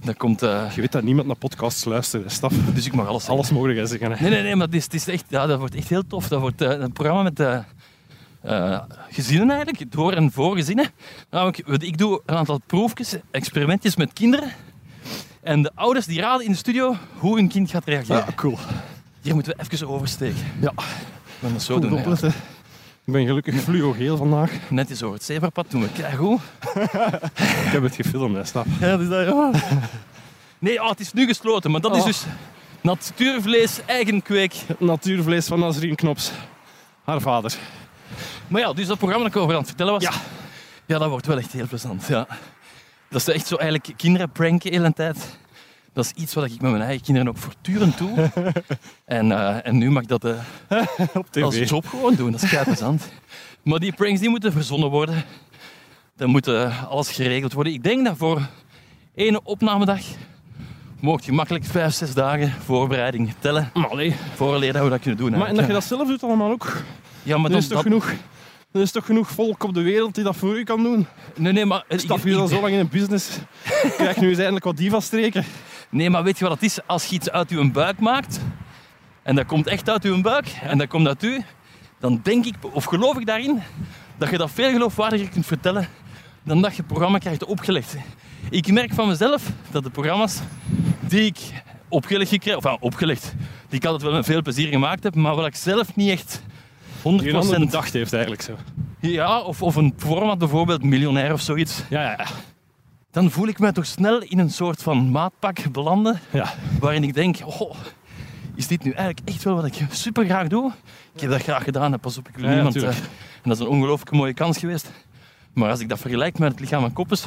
Speaker 1: Dat komt... eh,
Speaker 2: Je weet dat niemand naar podcasts luistert, hè, Staf.
Speaker 1: dus ik mag alles zeggen.
Speaker 2: Alles mogelijk hè, zeggen. Hè.
Speaker 1: Nee, nee, nee, maar het is, het is echt, ja, dat wordt echt heel tof. Dat wordt eh, een programma met eh, eh, gezinnen eigenlijk, door en voor gezinnen. Namelijk, wat ik doe een aantal proefjes, experimentjes met kinderen. En de ouders die raden in de studio hoe hun kind gaat reageren.
Speaker 2: Ja, Ah, cool.
Speaker 1: Hier moeten we even oversteken.
Speaker 2: Ja,
Speaker 1: We gaan dat zo
Speaker 2: goed
Speaker 1: doen. eigenlijk.
Speaker 2: opletten. Ik ben gelukkig fluogeel vandaag.
Speaker 1: Net is over het zebrapad doen we keigoed.
Speaker 2: Ik heb het gefilmd, hè, Staf.
Speaker 1: Ja, dus dat, ja. Nee, ah, het is nu gesloten, maar dat is
Speaker 2: Oh.
Speaker 1: dus natuurvlees, eigen kweek.
Speaker 2: Het natuurvlees van Nazrien Knops. Haar vader.
Speaker 1: Maar ja, dus dat programma dat ik over aan het vertellen was,
Speaker 2: Ja.
Speaker 1: ja, ja dat wordt wel echt heel plezant. Ja. Dat is echt zo eigenlijk kinderen pranken de hele tijd. Dat is iets wat ik met mijn eigen kinderen ook voortdurend doe. en, eh, en nu mag ik dat eh,
Speaker 2: Op tv.
Speaker 1: als job gewoon doen, dat is kei plezant. maar die pranks die moeten verzonnen worden. Dan moet eh, alles geregeld worden. Ik denk dat voor één opnamedag mocht je makkelijk vijf, zes dagen voorbereiding tellen.
Speaker 2: Maar allee.
Speaker 1: Voorleer dat we dat kunnen doen.
Speaker 2: Maar en dat
Speaker 1: eigenlijk,
Speaker 2: je dat zelf doet allemaal ook.
Speaker 1: ja. ja, maar
Speaker 2: Er
Speaker 1: dan,
Speaker 2: is toch
Speaker 1: dat-
Speaker 2: genoeg... Er is toch genoeg volk op de wereld die dat voor u kan doen?
Speaker 1: Nee, nee, maar...
Speaker 2: Staf, je al zo lang in een business. Ik krijg nu eens eindelijk wat diva-streken.
Speaker 1: Nee, maar weet je wat het is? Als je iets uit je buik maakt, en dat komt echt uit je buik, en dat komt uit u, dan denk ik, of geloof ik daarin, dat je dat veel geloofwaardiger kunt vertellen dan dat je het programma krijgt opgelegd. Ik merk van mezelf dat de programma's die ik opgelegd gekregen, of ja, opgelegd, die ik altijd wel met veel plezier gemaakt heb, maar wat ik zelf niet echt 100%
Speaker 2: Die een ander bedacht heeft eigenlijk zo.
Speaker 1: ja, of, of een format bijvoorbeeld, miljonair of zoiets,
Speaker 2: Ja, ja, ja.
Speaker 1: dan voel ik mij toch snel in een soort van maatpak belanden
Speaker 2: ja.
Speaker 1: waarin ik denk, oh, is dit nu eigenlijk echt wel wat ik super graag doe? Ik heb dat graag gedaan en pas op, ik wil
Speaker 2: Ja, ja,
Speaker 1: niemand...
Speaker 2: tuurlijk.
Speaker 1: eh, en dat is een ongelooflijk mooie kans geweest. Maar als ik dat vergelijk met het lichaam van koppes,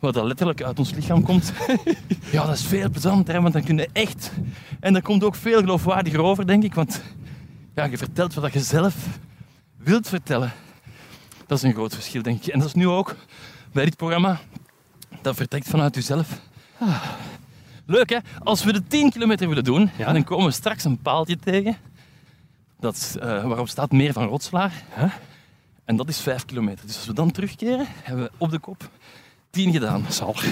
Speaker 1: wat dat letterlijk uit ons lichaam komt, ja, dat is veel plezanter, want dan kun je echt... En dat komt ook veel geloofwaardiger over, denk ik, want ja, je vertelt wat je zelf wilt vertellen. Dat is een groot verschil, denk ik. En dat is nu ook bij dit programma. Dat vertrekt vanuit jezelf. Leuk hè? Als we de 10 kilometer willen doen,
Speaker 2: Ja.
Speaker 1: dan komen we straks een paaltje tegen. Dat is, eh, waarop staat meer van Rotslaar.
Speaker 2: Huh?
Speaker 1: En dat is 5 kilometer. Dus als we dan terugkeren, hebben we op de kop 10 gedaan.
Speaker 2: Zalig.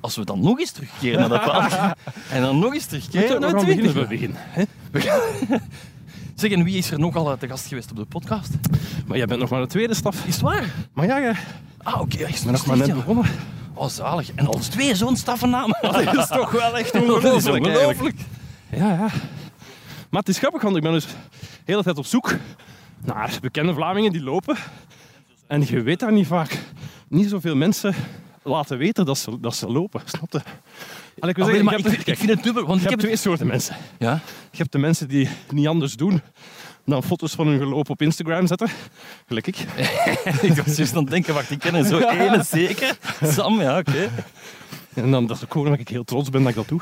Speaker 1: Als we dan nog eens terugkeren naar dat paaltje. en dan nog eens terugkeren
Speaker 2: we
Speaker 1: naar
Speaker 2: gaan
Speaker 1: 20.
Speaker 2: beginnen bij het begin.
Speaker 1: Zeg, en wie is er nogal eh, te gast geweest op de podcast?
Speaker 2: Maar jij bent nog maar de tweede staf.
Speaker 1: Is het waar?
Speaker 2: Maar ja, jij
Speaker 1: Ah, oké. ja, is
Speaker 2: bent nog maar net
Speaker 1: ja.
Speaker 2: begonnen.
Speaker 1: Oh, zalig. En ons twee zo'n staffennaam.
Speaker 2: Dat is toch wel echt
Speaker 1: Dat is
Speaker 2: ongelooflijk eigenlijk.
Speaker 1: ongelooflijk.
Speaker 2: Ja, ja. Maar het is grappig, want ik ben dus de hele tijd op zoek naar bekende Vlamingen die lopen. En je weet daar niet vaak. Niet zoveel mensen laten weten dat ze, dat ze lopen, snap je? Allee, ik wil
Speaker 1: Ah,
Speaker 2: zeggen,
Speaker 1: wel, maar
Speaker 2: je
Speaker 1: ik,
Speaker 2: hebt,
Speaker 1: vind- ik vind het dubbel, want
Speaker 2: je
Speaker 1: ik heb
Speaker 2: hebt twee soorten mensen.
Speaker 1: Ja,
Speaker 2: Je hebt de mensen die niet anders doen dan foto's van hun gelopen op Instagram zetten. Gelijk ik.
Speaker 1: ik was juist aan het denken, wacht, ik ken er zo ene zeker. Sam, ja, oké.
Speaker 2: En dan dat is ook gewoon dat ik heel trots ben dat ik dat doe.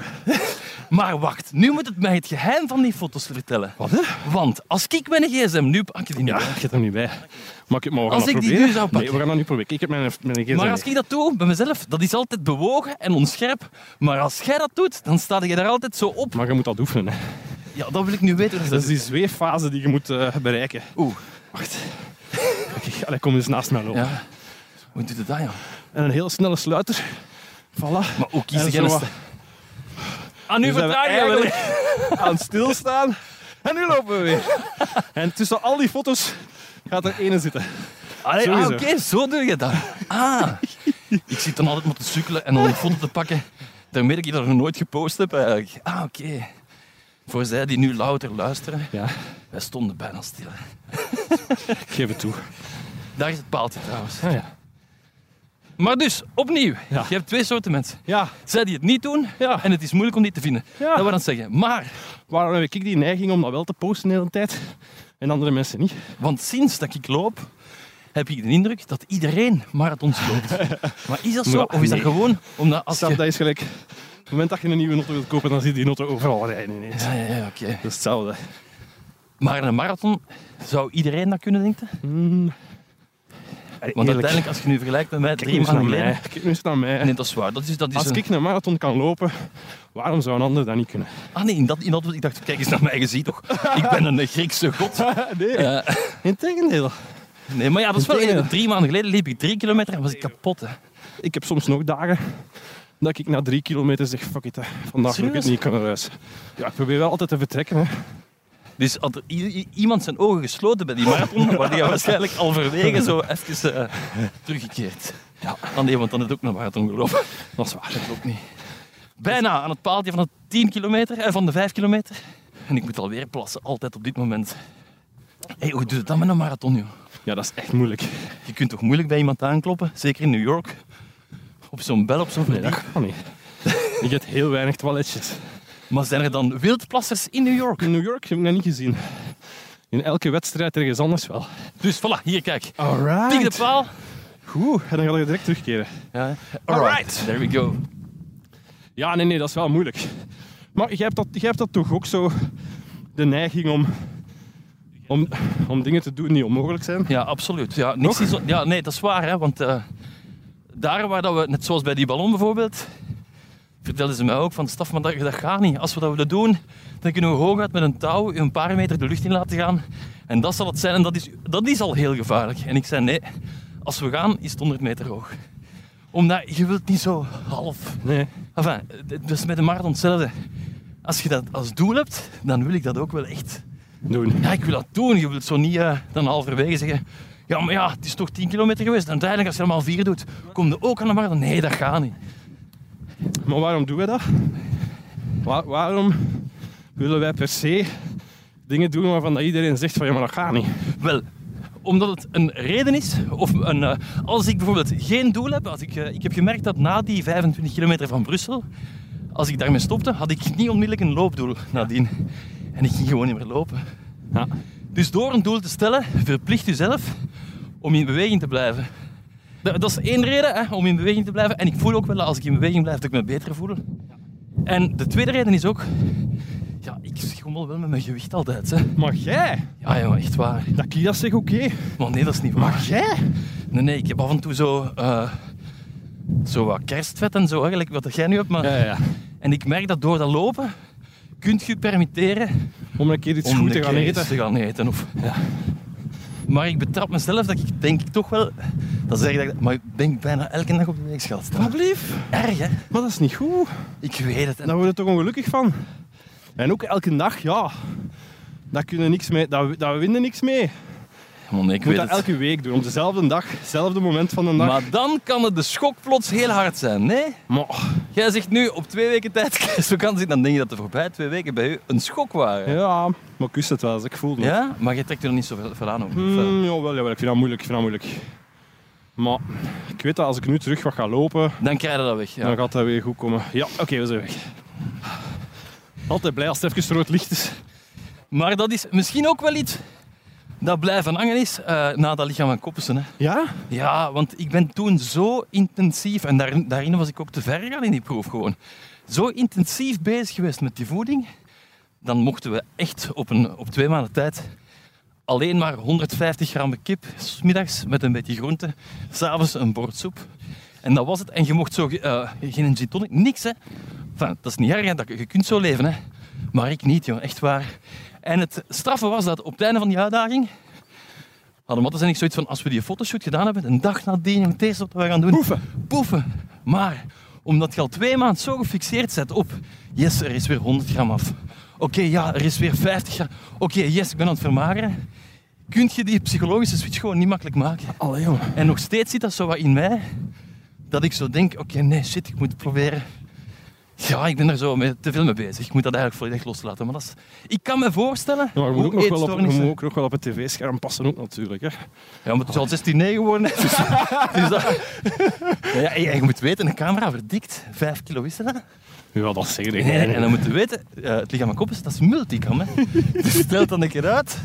Speaker 1: Maar wacht, nu moet het mij het geheim van die foto's vertellen.
Speaker 2: Wat hè?
Speaker 1: Want als ik mijn gsm nu pak je die niet
Speaker 2: Ja,
Speaker 1: bij.
Speaker 2: ik heb er niet bij. Maar, ik, maar we gaan
Speaker 1: Als
Speaker 2: dat
Speaker 1: ik die
Speaker 2: proberen.
Speaker 1: nu zou
Speaker 2: Nee,
Speaker 1: pakken.
Speaker 2: we gaan dat niet proberen. Ik heb mijn, mijn gsm
Speaker 1: Maar
Speaker 2: niet.
Speaker 1: als ik dat doe bij mezelf, dat is altijd bewogen en onscherp. Maar als jij dat doet, dan sta je daar altijd zo op.
Speaker 2: Maar je moet dat oefenen. Hè.
Speaker 1: Ja, dat wil ik nu weten.
Speaker 2: Dat is die zweeffase die je moet eh, bereiken.
Speaker 1: Oeh.
Speaker 2: Wacht. Kijk, allee, kom eens naast mij lopen.
Speaker 1: Ja. Hoe doet het dat, ja?
Speaker 2: En een heel snelle sluiter. Voilà.
Speaker 1: Maar hoe
Speaker 2: En
Speaker 1: kies
Speaker 2: zo
Speaker 1: je
Speaker 2: wat-
Speaker 1: een Ah, nu
Speaker 2: Nu zijn we
Speaker 1: vertraag je
Speaker 2: eigenlijk
Speaker 1: wel.
Speaker 2: aan het stilstaan. En nu lopen we weer. En tussen al die foto's gaat er ene zitten.
Speaker 1: Allee, ah,
Speaker 2: Sowieso.
Speaker 1: oké, zo doe je dat. Ah. Ik zit dan altijd maar te sukkelen en dan een foto te pakken. Daarmee dat ik dat nog nooit gepost heb eigenlijk. Ah, oké. Voor zij die nu louter luisteren,
Speaker 2: Ja,
Speaker 1: wij stonden bijna stil. hè.
Speaker 2: ik geef het toe.
Speaker 1: Daar is het paaltje trouwens.
Speaker 2: Ah, ja.
Speaker 1: Maar dus, opnieuw.
Speaker 2: Ja.
Speaker 1: Je hebt twee soorten mensen.
Speaker 2: ja,
Speaker 1: Zij die het niet doen
Speaker 2: Ja.
Speaker 1: en het is moeilijk om die te vinden.
Speaker 2: Ja.
Speaker 1: Dat wil dan zeggen. Maar,
Speaker 2: waarom heb ik die neiging om dat wel te posten de hele tijd? En andere mensen niet.
Speaker 1: want sinds dat ik loop, heb ik de indruk dat iedereen marathons loopt. maar is dat zo?
Speaker 2: Maar,
Speaker 1: of is dat
Speaker 2: nee.
Speaker 1: gewoon omdat als
Speaker 2: Stap,
Speaker 1: je...
Speaker 2: dat is gelijk. Op het moment dat je een nieuwe auto wilt kopen, dan zie je die auto overal rijden ineens.
Speaker 1: Ja, ja, ja, oké.
Speaker 2: Dat is hetzelfde.
Speaker 1: Maar in een marathon zou iedereen dat kunnen, denken?
Speaker 2: Allee,
Speaker 1: Want
Speaker 2: eerlijk,
Speaker 1: uiteindelijk, als je nu vergelijkt met mij
Speaker 2: Kijk
Speaker 1: drie
Speaker 2: nu eens
Speaker 1: maanden
Speaker 2: naar
Speaker 1: geleden...
Speaker 2: mij. Kijk nu eens naar mij.
Speaker 1: Nee, dat is waar. Dat is, dat is
Speaker 2: Als
Speaker 1: een-
Speaker 2: ik een marathon kan lopen, waarom zou een ander dat niet kunnen?
Speaker 1: Ah nee, in dat, in dat, ik dacht, kijk eens naar mij, je ziet toch. ik ben een Griekse god.
Speaker 2: nee,
Speaker 1: Eh,
Speaker 2: integendeel.
Speaker 1: nee, maar ja, dat is wel...
Speaker 2: Integendeel.
Speaker 1: Drie maanden geleden liep ik drie kilometer en was ik kapot, hè.
Speaker 2: Ik heb soms nog dagen dat ik na drie kilometer zeg, fuck it, hè. vandaag lukt het
Speaker 1: Serieus?
Speaker 2: niet, ik kan naar huis. Ja, ik probeer wel altijd te vertrekken. Hè.
Speaker 1: Dus had er i- i- iemand zijn ogen gesloten bij die marathon, waar hij waarschijnlijk halverwege zo even eh, teruggekeerd. Ja. Ah nee, want dan had het ook een marathon gelopen.
Speaker 2: Dat is waar.
Speaker 1: Dat klopt niet. Bijna aan het paaltje van de 10 kilometer, eh, van de 5 kilometer. En ik moet alweer plassen, altijd op dit moment. Hé, hey, hoe doet het dan met een marathon, joh?
Speaker 2: Ja, dat is echt moeilijk.
Speaker 1: Je kunt toch moeilijk bij iemand aankloppen, zeker in New York. Op zo'n bel, op zo'n
Speaker 2: ah, Nee, dat
Speaker 1: verdiep.
Speaker 2: kan niet. Je hebt heel weinig toiletjes.
Speaker 1: Maar zijn er dan wildplassers in New York?
Speaker 2: In New York heb ik dat niet gezien. In elke wedstrijd ergens anders wel.
Speaker 1: Dus voilà, hier kijk. Tik de
Speaker 2: Alright.
Speaker 1: paal.
Speaker 2: Goed, en dan ga je direct terugkeren.
Speaker 1: Ja.
Speaker 2: Alright.
Speaker 1: There we go.
Speaker 2: Ja, nee, nee, dat is wel moeilijk. Maar jij hebt dat, jij hebt dat toch ook zo de neiging om, om, om dingen te doen die onmogelijk zijn?
Speaker 1: Ja, absoluut. Ja, niks is on- ja, nee, dat is waar. Hè, want eh, daar waar dat we, net zoals bij die ballon bijvoorbeeld, vertelden ze mij ook van staf, maar dat, dat gaat niet. Als we dat willen doen, dan kunnen we hooguit met een touw een paar meter de lucht in laten gaan. En dat zal het zijn. En dat is, dat is al heel gevaarlijk. En ik zei nee, als we gaan, is het 100 meter hoog. Omdat je wilt niet zo half.
Speaker 2: Nee.
Speaker 1: Enfin, d- dat is met de marathon hetzelfde. Als je dat als doel hebt, dan wil ik dat ook wel echt
Speaker 2: Doen.
Speaker 1: ja, ik wil dat doen. Je wilt zo niet eh, dan halverwege zeggen, ja, maar ja, het is toch 10 kilometer geweest. En uiteindelijk, als je allemaal vier doet, kom je ook aan de marathon. Nee, dat gaat niet.
Speaker 2: Maar waarom doen wij dat? Wa- waarom willen wij per se dingen doen waarvan dat iedereen zegt van ja, maar dat gaat niet?
Speaker 1: Wel, omdat het een reden is, of een, eh, als ik bijvoorbeeld geen doel heb, als ik, eh, ik heb gemerkt dat na die 25 kilometer van Brussel, als ik daarmee stopte, had ik niet onmiddellijk een loopdoel nadien. En ik ging gewoon niet meer lopen.
Speaker 2: Ja.
Speaker 1: Dus door een doel te stellen, verplicht jezelf om in beweging te blijven. Dat, dat is één reden, hè, om in beweging te blijven. En ik voel ook wel dat als ik in beweging blijf, dat ik me beter voel. En de tweede reden is ook... Ja, ik schommel wel met mijn gewicht altijd. Hè.
Speaker 2: Maar jij,
Speaker 1: Ja, jongen, echt waar.
Speaker 2: dat Kia zegt oké.
Speaker 1: Maar nee, dat is niet waar.
Speaker 2: Maar jij?
Speaker 1: Nee, nee, ik heb af en toe zo... eh, zo wat kerstvet en zo, eigenlijk wat dat jij nu hebt. Maar...
Speaker 2: Ja, ja.
Speaker 1: En ik merk dat door dat lopen, kunt je je permitteren
Speaker 2: Om een keer iets
Speaker 1: om
Speaker 2: goed
Speaker 1: een
Speaker 2: te gaan
Speaker 1: keer
Speaker 2: eten.
Speaker 1: iets te gaan eten. Of, Maar ik betrap mezelf dat ik denk ik toch wel... Dat zeg ik, dat ik- maar ik denk bijna elke dag op de weegschaal staan.
Speaker 2: Alsjeblieft.
Speaker 1: Erg, hè?
Speaker 2: Maar dat is niet goed.
Speaker 1: Ik weet het. En
Speaker 2: Daar word je toch ongelukkig van. En ook elke dag, ja. Daar kunnen niks mee, daar, daar winnen niks mee.
Speaker 1: Man, nee, ik
Speaker 2: Je moet
Speaker 1: weet
Speaker 2: dat
Speaker 1: het.
Speaker 2: elke week doen, op dezelfde dag, hetzelfde moment van de dag.
Speaker 1: Maar dan kan het de schok plots heel hard zijn, nee?
Speaker 2: Maar-
Speaker 1: Jij zegt nu, op twee weken tijd kerstvakantie, dan denk je dat de voorbij twee weken bij u een schok waren.
Speaker 2: ja, maar ik wist het wel, dus ik voelde het.
Speaker 1: Ja? Maar je trekt er niet zoveel veel aan over.
Speaker 2: Hmm, jawel, jawel, ik vind dat moeilijk, ik vind dat moeilijk. Maar ik weet dat als ik nu terug wat ga lopen,
Speaker 1: Dan krijg je dat weg, ja.
Speaker 2: dan gaat dat weer goed komen. Ja, oké, we zijn weg. Altijd blij als het even rood licht is.
Speaker 1: Maar dat is misschien ook wel iets dat blijven hangen is eh, na dat lichaam van Koppensen, hè.
Speaker 2: Ja?
Speaker 1: Ja, want ik ben toen zo intensief, en daar, daarin was ik ook te ver gaan in die proef gewoon, zo intensief bezig geweest met die voeding, dan mochten we echt op, een, op twee maanden tijd alleen maar 150 gram kip, 's middags met een beetje groente, s'avonds een bord soep. En dat was het. En je mocht zo ge- eh, geen gin tonic, niks hè. Enfin, dat is niet erg, hè, dat, je kunt zo leven hè. Maar ik niet, joh. Echt waar. En het straffe was dat op het einde van die uitdaging hadden Mattes en ik zoiets van, als we die fotoshoot gedaan hebben, een dag nadien, het eerste wat we gaan doen...
Speaker 2: Poefen.
Speaker 1: Poefen. Maar, omdat je al twee maanden zo gefixeerd zet op, yes, er is weer 100 gram af. Oké, ja, er is weer 50 gram. Oké, yes, ik ben aan het vermageren. Kun je die psychologische switch gewoon niet makkelijk maken.
Speaker 2: Allee, jongen.
Speaker 1: En nog steeds zit dat zo wat in mij, dat ik zo denk, oké, nee, shit, ik moet proberen... Ja, ik ben er zo mee, te veel mee bezig. Ik moet dat eigenlijk volledig loslaten. Maar dat is, ik kan me voorstellen
Speaker 2: Ja, maar je
Speaker 1: hoe
Speaker 2: moet, ook nog wel op, je
Speaker 1: eetstoornissen-
Speaker 2: moet ook nog wel op het tv-scherm passen, ook natuurlijk. Hè.
Speaker 1: ja, maar het is al 16 9 geworden. hè. Dus, dus dat... ja, ja, je moet weten, een camera verdikt. 5 kilo is dat.
Speaker 2: Ja, dat zeg ik.
Speaker 1: Nee, nee, en dan moet je weten, eh, het lichaam aan kop is, dat is multicam. Hè. Dus stel dan een keer uit.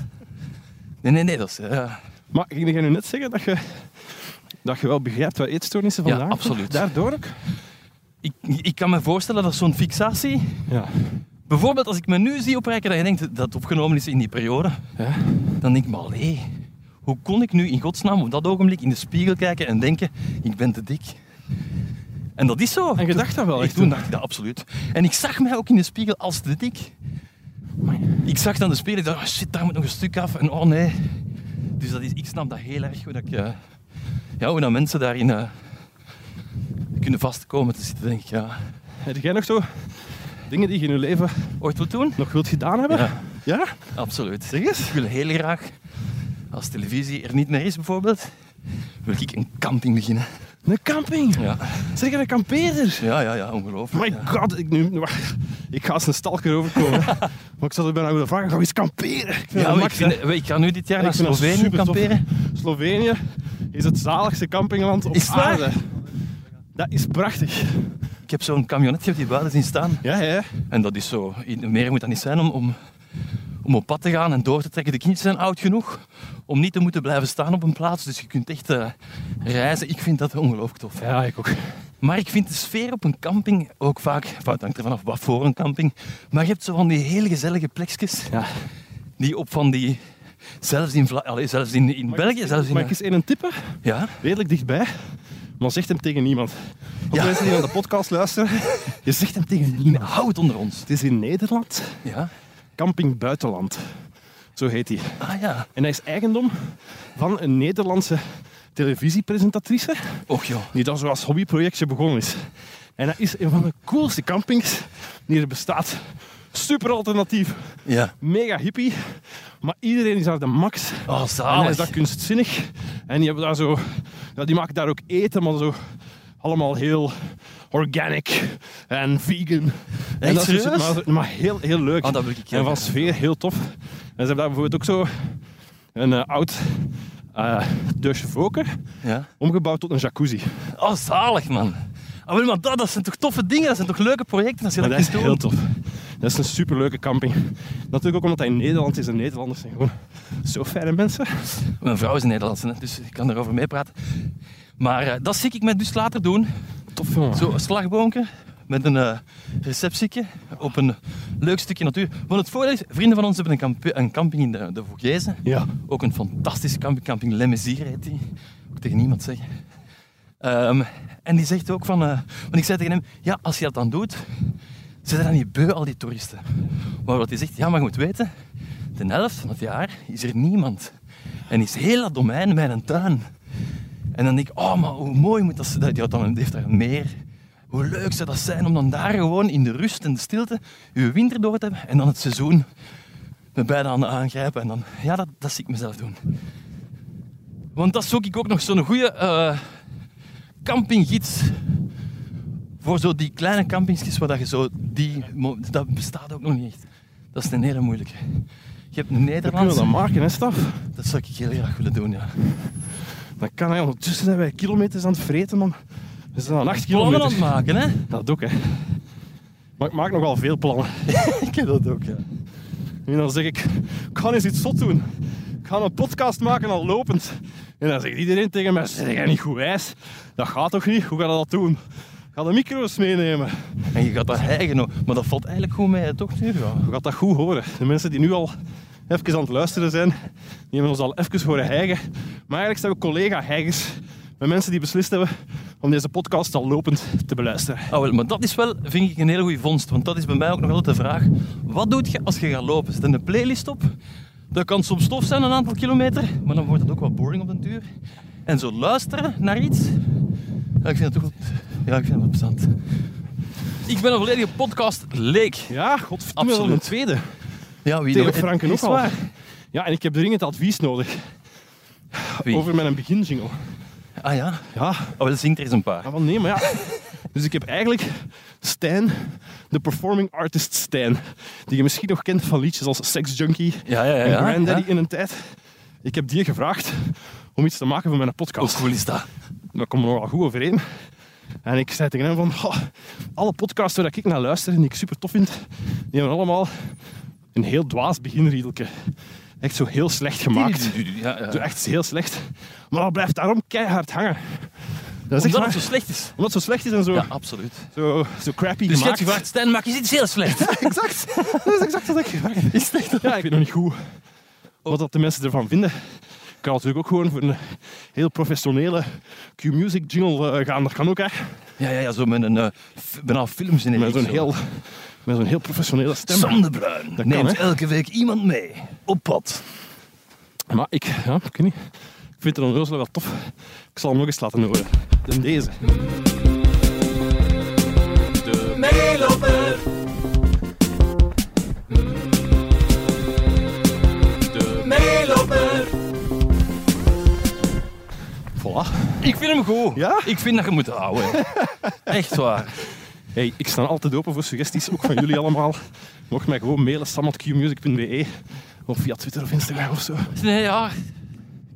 Speaker 1: Nee, nee, nee, dat is... eh,
Speaker 2: Maar ging jij nu net zeggen dat je, dat je wel begrijpt wat eetstoornissen
Speaker 1: Ja,
Speaker 2: vandaan komen?
Speaker 1: absoluut.
Speaker 2: Daardoor ook?
Speaker 1: ik, ik kan me voorstellen dat zo'n fixatie...
Speaker 2: Ja.
Speaker 1: Bijvoorbeeld als ik me nu zie oprijken dat je denkt dat het opgenomen is in die periode.
Speaker 2: Ja.
Speaker 1: Dan denk ik me, allee, hoe kon ik nu in godsnaam op dat ogenblik in de spiegel kijken en denken, ik ben te dik. En dat is zo.
Speaker 2: En je dacht dat wel
Speaker 1: Ik
Speaker 2: echt
Speaker 1: toen
Speaker 2: toen?
Speaker 1: dacht ik dat absoluut. En ik zag mij ook in de spiegel als te dik. Ik zag dan de spiegel, ik dacht, oh shit, daar moet nog een stuk af. En oh nee. Dus dat is, ik snap dat heel erg, hoe, dat ik, eh, ja, hoe dat mensen daarin eh, kunnen vastkomen te zitten. Denk ik, ja.
Speaker 2: Heb jij nog zo dingen die je in je leven
Speaker 1: Ooit wil doen?
Speaker 2: nog wilt gedaan hebben?
Speaker 1: Ja.
Speaker 2: Ja?
Speaker 1: Absoluut. Zeg eens. Ik wil heel graag, als televisie er niet meer is bijvoorbeeld, wil ik een camping beginnen.
Speaker 2: Een camping.
Speaker 1: Ja,
Speaker 2: Zeg je een kampeerder?
Speaker 1: ja, ja, ja ongelooflijk.
Speaker 2: My
Speaker 1: ja.
Speaker 2: god, ik, nu, wacht. ik ga als een stalker overkomen. maar ik zal er bijna willen vragen, ga eens kamperen. Ik vind
Speaker 1: Ja,
Speaker 2: dat
Speaker 1: maar ik,
Speaker 2: max, hè.
Speaker 1: vind- ik ga nu dit jaar
Speaker 2: Ik
Speaker 1: naar
Speaker 2: vind dat
Speaker 1: Slovenië
Speaker 2: supertof.
Speaker 1: kamperen.
Speaker 2: Slovenië is het zaligste campingland op
Speaker 1: Is het waar?
Speaker 2: aarde. Dat is prachtig.
Speaker 1: Ik heb zo'n camionetje die buiten zien staan.
Speaker 2: Ja, ja.
Speaker 1: En dat is zo. Meer moet dat niet zijn om, om, om op pad te gaan en door te trekken. De kindjes zijn oud genoeg om niet te moeten blijven staan op een plaats. Dus je kunt echt eh, reizen. Ik vind dat ongelooflijk tof.
Speaker 2: Ja, ik ook.
Speaker 1: Maar ik vind de sfeer op een camping ook vaak... enfin, Het hangt ervan af wat voor een camping. Maar je hebt zo van die heel gezellige plekjes.
Speaker 2: Ja.
Speaker 1: Die op van die... Zelfs in, Vla Allee, zelfs in, in België. Zelfs
Speaker 2: Mag ik
Speaker 1: in,
Speaker 2: eens een tippen?
Speaker 1: ja?
Speaker 2: Redelijk dichtbij. Maar zeg hem tegen niemand. Of
Speaker 1: Ja.
Speaker 2: mensen die naar de podcast luisteren. Je zegt hem tegen niemand.
Speaker 1: Hou het onder ons.
Speaker 2: Het is in Nederland.
Speaker 1: Ja?
Speaker 2: Camping Buitenland. Zo heet hij.
Speaker 1: Ah ja.
Speaker 2: En hij is eigendom van een Nederlandse televisiepresentatrice.
Speaker 1: Och joh.
Speaker 2: Die dan zo als hobbyprojectje begonnen is. En dat is een van de coolste campings die er bestaat. Super alternatief.
Speaker 1: Ja.
Speaker 2: Mega hippie. Maar iedereen is daar de max.
Speaker 1: Oh,
Speaker 2: En hij is
Speaker 1: zalig.
Speaker 2: dat kunstzinnig. En die, hebben daar zo, ja, die maken daar ook eten, maar zo allemaal heel organic en vegan. en dat soort
Speaker 1: serieus?
Speaker 2: shit, maar, maar heel, heel leuk.
Speaker 1: Ah, dat wil ik heel
Speaker 2: en van
Speaker 1: graag.
Speaker 2: sfeer heel tof. En ze hebben daar bijvoorbeeld ook zo een eh, oud eh deusje voker
Speaker 1: Ja.
Speaker 2: omgebouwd tot een jacuzzi.
Speaker 1: Oh, zalig, man. Ah, wel, maar dat, dat zijn toch toffe dingen? Dat zijn toch leuke projecten als je
Speaker 2: Maar
Speaker 1: dat,
Speaker 2: dat is
Speaker 1: kunt
Speaker 2: heel
Speaker 1: doen?
Speaker 2: tof. Dat is een superleuke camping. Natuurlijk ook omdat hij in Nederland is en Nederlanders zijn gewoon zo fijne mensen.
Speaker 1: Mijn vrouw is Nederlandse, hè, dus ik kan daarover meepraten. Maar eh, dat zie ik me dus later doen.
Speaker 2: Tof jongen.
Speaker 1: Zo een slagboomke met een eh receptiekje op een leuk stukje natuur. Want het voordeel is, vrienden van ons hebben een, kamp- een camping in de, de Vogezen.
Speaker 2: Ja.
Speaker 1: Ook een fantastische camping, camping Le Messier heet die. Moet ik tegen niemand zeggen. Ehm, en die zegt ook van... eh, want ik zei tegen hem, ja, als je dat dan doet, zijn er dan niet beu al die toeristen. Maar wat hij zegt, ja, maar je moet weten, de helft van het jaar is er niemand. En is heel dat domein mijn tuin. En dan denk ik, oh, maar hoe mooi moet dat zijn. Ja, dan heeft daar een meer. Hoe leuk zou dat zijn om dan daar gewoon in de rust en de stilte je winter door te hebben en dan het seizoen met beide handen aangrijpen. En dan, ja, dat, dat zie ik mezelf doen. Want dat zoek ik ook nog zo'n goede eh, campinggids. Voor zo die kleine campingsgids waar dat je zo die... mo- Dat bestaat ook nog niet echt. Dat is een hele moeilijke. Je hebt een
Speaker 2: We kunnen
Speaker 1: Nederlandse.
Speaker 2: dat maken, hè, Staf?
Speaker 1: Dat zou ik heel graag willen doen, ja.
Speaker 2: Dan kan hij ondertussen zijn wij kilometers aan het vreten, man. We zijn aan 8
Speaker 1: Plannen aan het
Speaker 2: kilometer.
Speaker 1: maken, hè?
Speaker 2: Dat ook, hè. Maar ik maak nogal veel plannen.
Speaker 1: Ik heb dat ook, ja.
Speaker 2: En dan zeg ik, ik ga eens iets zot doen. Ik ga een podcast maken al lopend. En dan zegt iedereen tegen mij, zeg jij niet goed wijs? Dat gaat toch niet? Hoe ga je dat doen? Ik ga de micro's meenemen.
Speaker 1: En je gaat dat hijgen, ook. maar dat valt eigenlijk goed mee, hè, toch? Nu? Ja.
Speaker 2: Je gaat dat goed horen. De mensen die nu al even aan het luisteren zijn, die hebben ons al even horen hijgen. Maar eigenlijk zijn we collega-hijgers. Met mensen die beslist hebben om deze podcast al lopend te beluisteren.
Speaker 1: Ah, wel, maar dat is wel, vind ik, een hele goede vondst. Want dat is bij mij ook nog altijd de vraag. Wat doet je als je gaat lopen? Zet een playlist op. Dat kan soms tof zijn, een aantal kilometer. Maar dan wordt het ook wat boring op den duur. En zo luisteren naar iets. Ja, ik vind het toch wel... Ja, ik vind het wel plezant. Ik ben een volledige podcast leek.
Speaker 2: Ja, godverdomme,
Speaker 1: Absoluut.
Speaker 2: dat is een tweede.
Speaker 1: Ja, wie
Speaker 2: Theo
Speaker 1: nog-
Speaker 2: Franken
Speaker 1: is
Speaker 2: ook al.
Speaker 1: waar.
Speaker 2: Ja, en ik heb dringend advies nodig
Speaker 1: Wie?
Speaker 2: over mijn beginjingle.
Speaker 1: Ah ja?
Speaker 2: Ja,
Speaker 1: Oh, wel, zingt er eens een paar.
Speaker 2: Ah, wel nee, maar ja. Dus ik heb eigenlijk Stijn, de performing artist Stijn, die je misschien nog kent van liedjes als Sex Junkie
Speaker 1: Ja, ja, ja.
Speaker 2: en
Speaker 1: ja,
Speaker 2: Granddaddy
Speaker 1: ja.
Speaker 2: in een tijd. Ik heb die gevraagd om iets te maken voor mijn
Speaker 1: Hoe
Speaker 2: podcast.
Speaker 1: cool is dat?
Speaker 2: We komen er wel goed overeen. En ik zei tegen hem van, "Goh, alle podcasts waar ik naar luister en die ik super tof vind, die hebben allemaal een heel dwaas beginriedeltje. Echt zo heel slecht gemaakt.
Speaker 1: Ja, ja.
Speaker 2: Zo echt heel slecht. Maar dat blijft daarom keihard hangen. Dat is echt
Speaker 1: Omdat
Speaker 2: waar.
Speaker 1: het zo slecht is.
Speaker 2: Omdat het zo slecht is en zo,
Speaker 1: Ja, absoluut.
Speaker 2: zo, zo crappy
Speaker 1: Dus je hebt
Speaker 2: gemaakt.
Speaker 1: gevraagd, Stijn, maak je iets heel slecht.
Speaker 2: exact. Dat is exact wat ik gevraagd heb.
Speaker 1: Is het echt?
Speaker 2: Ja, ik weet nog niet goed wat dat de mensen ervan vinden. Ik kan natuurlijk ook gewoon voor een heel professionele Q-music jingle eh, gaan. Dat kan ook, hè.
Speaker 1: Ja, ja, ja, zo met een eh, f- bijna films in
Speaker 2: Met zo'n heel, met zo'n heel professionele stem.
Speaker 1: Sandebruin
Speaker 2: Dat
Speaker 1: neemt
Speaker 2: kan, hè?
Speaker 1: elke week iemand mee op pad.
Speaker 2: Maar ik, ja, ik weet niet. Ik vind het onrozelijk wel tof. Ik zal hem nog eens laten horen. Dan deze. Voilà.
Speaker 1: Ik vind hem goed.
Speaker 2: Ja?
Speaker 1: Ik vind dat je moet houden. Echt waar.
Speaker 2: Hey, ik sta altijd open voor suggesties, ook van jullie allemaal. Mocht mij gewoon mailen, sam.qmusic.be of via Twitter of Instagram of zo. Dat
Speaker 1: Nee, ja.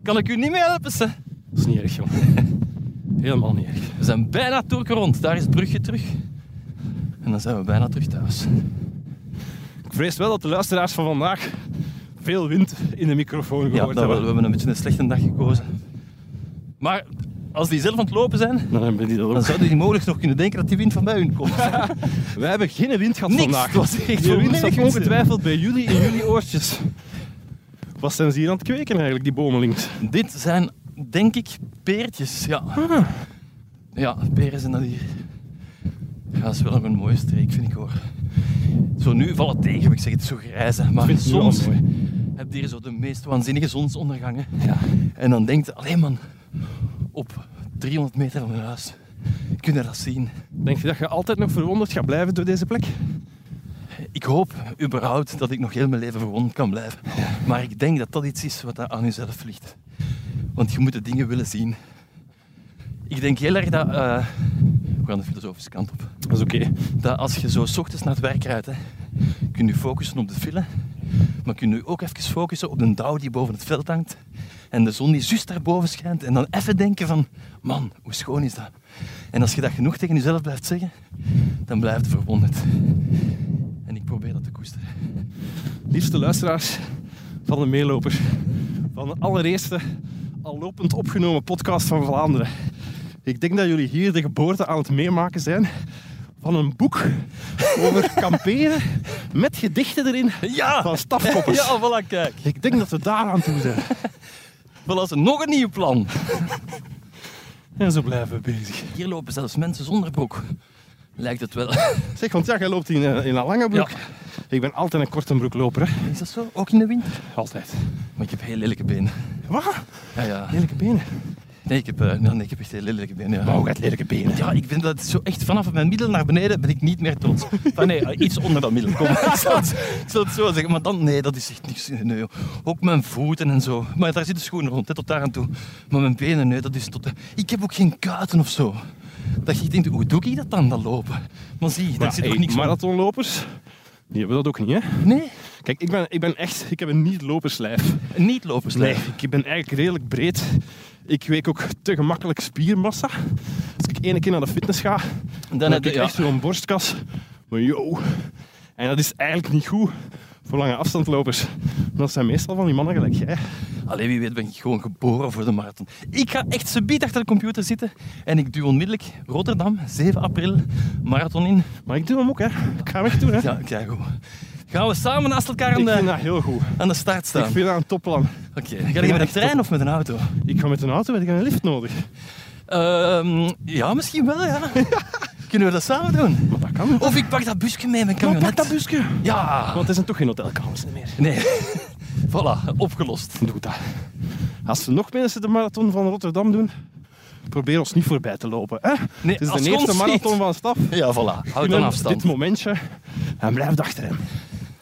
Speaker 1: Kan ik u niet meer helpen, ze?
Speaker 2: is niet erg, jong. Helemaal niet erg.
Speaker 1: We zijn bijna Turk rond. Daar is het brugje terug. En dan zijn we bijna terug thuis.
Speaker 2: Ik vrees wel dat de luisteraars van vandaag veel wind in de microfoon
Speaker 1: Ja, dat
Speaker 2: gehoord
Speaker 1: wel.
Speaker 2: hebben.
Speaker 1: We hebben een beetje een slechte dag gekozen. Maar als die zelf aan het lopen zijn,
Speaker 2: Dan hebben die dat
Speaker 1: dan
Speaker 2: ook.
Speaker 1: zouden die mogelijk nog kunnen denken dat die wind van bij hun komt.
Speaker 2: Wij hebben geen wind gehad
Speaker 1: Niks.
Speaker 2: vandaag.
Speaker 1: Het was echt
Speaker 2: Die
Speaker 1: volledig
Speaker 2: wind zat
Speaker 1: wind.
Speaker 2: ongetwijfeld bij jullie in jullie oortjes. Wat zijn ze hier aan het kweken eigenlijk, die bomen links?
Speaker 1: Dit zijn, denk ik, peertjes. Ja, ja peren zijn dat hier. Ja, dat is wel nog een mooie streek, vind ik hoor. Zo nu valt het tegen, maar ik zeg het is zo grijs. hè. Maar
Speaker 2: vind het nu al
Speaker 1: soms
Speaker 2: mooi.
Speaker 1: heb je hier zo de meest waanzinnige zonsondergangen. En dan denkt je, alleen man, op 300 meter van mijn huis kun je dat zien.
Speaker 2: Denk je dat je altijd nog verwonderd gaat blijven door deze plek?
Speaker 1: Ik hoop überhaupt dat ik nog heel mijn leven verwond kan blijven. Maar ik denk dat dat iets is wat aan jezelf ligt. Want je moet de dingen willen zien. Ik denk heel erg dat... eh, we gaan de filosofische kant op.
Speaker 2: Dat is oké.
Speaker 1: Dat als je zo 's ochtends naar het werk rijdt, hè, kun je focussen op de file. Maar kun je ook even focussen op de dauw die boven het veld hangt. En de zon die juist daarboven schijnt. En dan even denken van, man, hoe schoon is dat? En als je dat genoeg tegen jezelf blijft zeggen, dan blijft het verwonderd. En ik probeer dat te koesteren.
Speaker 2: liefste luisteraars van de meeloper. Van de allereerste al lopend opgenomen podcast van Vlaanderen. Ik denk dat jullie hier de geboorte aan het meemaken zijn van een boek over kamperen met gedichten erin
Speaker 1: Ja!
Speaker 2: van stafkoppers.
Speaker 1: Ja, voilà, kijk.
Speaker 2: Ik denk dat we daar aan toe zijn.
Speaker 1: Voilà, is er nog een nieuw plan.
Speaker 2: En zo blijven we bezig.
Speaker 1: Hier lopen zelfs mensen zonder broek. Lijkt het wel.
Speaker 2: Zeg, want ja, jij loopt in, eh, in een lange broek.
Speaker 1: Ja.
Speaker 2: Ik ben altijd een korte broekloper, hè.
Speaker 1: Is dat zo? Ook in de winter?
Speaker 2: Altijd.
Speaker 1: Maar ik heb heel lelijke benen.
Speaker 2: Wat?
Speaker 1: Ja, ja.
Speaker 2: Lelijke benen.
Speaker 1: Nee, ik heb, eh, nee, nee, ik heb echt heel lelijke benen. Ja.
Speaker 2: Maar ook uit lelijke benen.
Speaker 1: Ja, ik vind dat zo echt vanaf mijn middel naar beneden ben ik niet meer trots. Van nee, eh, iets onder dat middel. Kom, ik, zal het, ik zal het zo zeggen. Maar dan, nee, dat is echt niks. Nee, joh. Ook mijn voeten en zo. Maar daar zitten schoenen rond, hè, tot daar aan toe. Maar mijn benen, nee, dat is tot... de- Ik heb ook geen kuiten of zo. Dat je denkt, hoe doe ik dat dan, dat lopen? Maar zie, daar
Speaker 2: Maar,
Speaker 1: zit ook
Speaker 2: hey,
Speaker 1: niks van.
Speaker 2: marathonlopers, die hebben dat ook niet, hè?
Speaker 1: Nee,
Speaker 2: Kijk, ik ben, ik ben echt, ik heb een niet-loperslijf.
Speaker 1: niet loperslijf.
Speaker 2: ik ben eigenlijk redelijk breed. Ik week ook te gemakkelijk spiermassa. Als ik ene keer naar de fitness ga, dan,
Speaker 1: heb
Speaker 2: heb
Speaker 1: je-
Speaker 2: ik
Speaker 1: ja.
Speaker 2: echt zo'n borstkas. Maar yo, en dat is eigenlijk niet goed voor lange afstandlopers. Dat zijn meestal van die mannen gelijk jij.
Speaker 1: Alleen wie weet ben ik gewoon geboren voor de marathon. Ik ga echt subiet achter de computer zitten en ik duw onmiddellijk Rotterdam, 7 april, marathon in.
Speaker 2: Maar ik doe hem ook, hè. Ik ga hem echt doen, hè.
Speaker 1: Ja, kijk goed. Gaan we samen naast elkaar aan
Speaker 2: Ik vind
Speaker 1: de,
Speaker 2: dat heel goed.
Speaker 1: aan de start
Speaker 2: Ik
Speaker 1: staan?
Speaker 2: vind dat een topplan.
Speaker 1: Oké, ga je met een trein of met een auto?
Speaker 2: Ik ga met een auto, heb ik een lift nodig.
Speaker 1: Ehm, ja, misschien wel, ja. Kunnen we dat samen doen?
Speaker 2: Maar dat kan.
Speaker 1: Of ik pak dat busje mee, mijn
Speaker 2: Maar
Speaker 1: camionet.
Speaker 2: pak dat busje.
Speaker 1: Ja.
Speaker 2: Want er zijn toch geen hotelkamers meer.
Speaker 1: Nee. voilà, opgelost.
Speaker 2: Doe dat. Als er nog mensen de marathon van Rotterdam doen, probeer ons niet voorbij te lopen. Hè?
Speaker 1: Nee,
Speaker 2: het is
Speaker 1: als
Speaker 2: de
Speaker 1: je ons
Speaker 2: eerste
Speaker 1: ziet.
Speaker 2: marathon van Staf.
Speaker 1: Ja, voilà. Houd dan
Speaker 2: Neem
Speaker 1: afstand.
Speaker 2: Dit momentje. En blijf achter hem.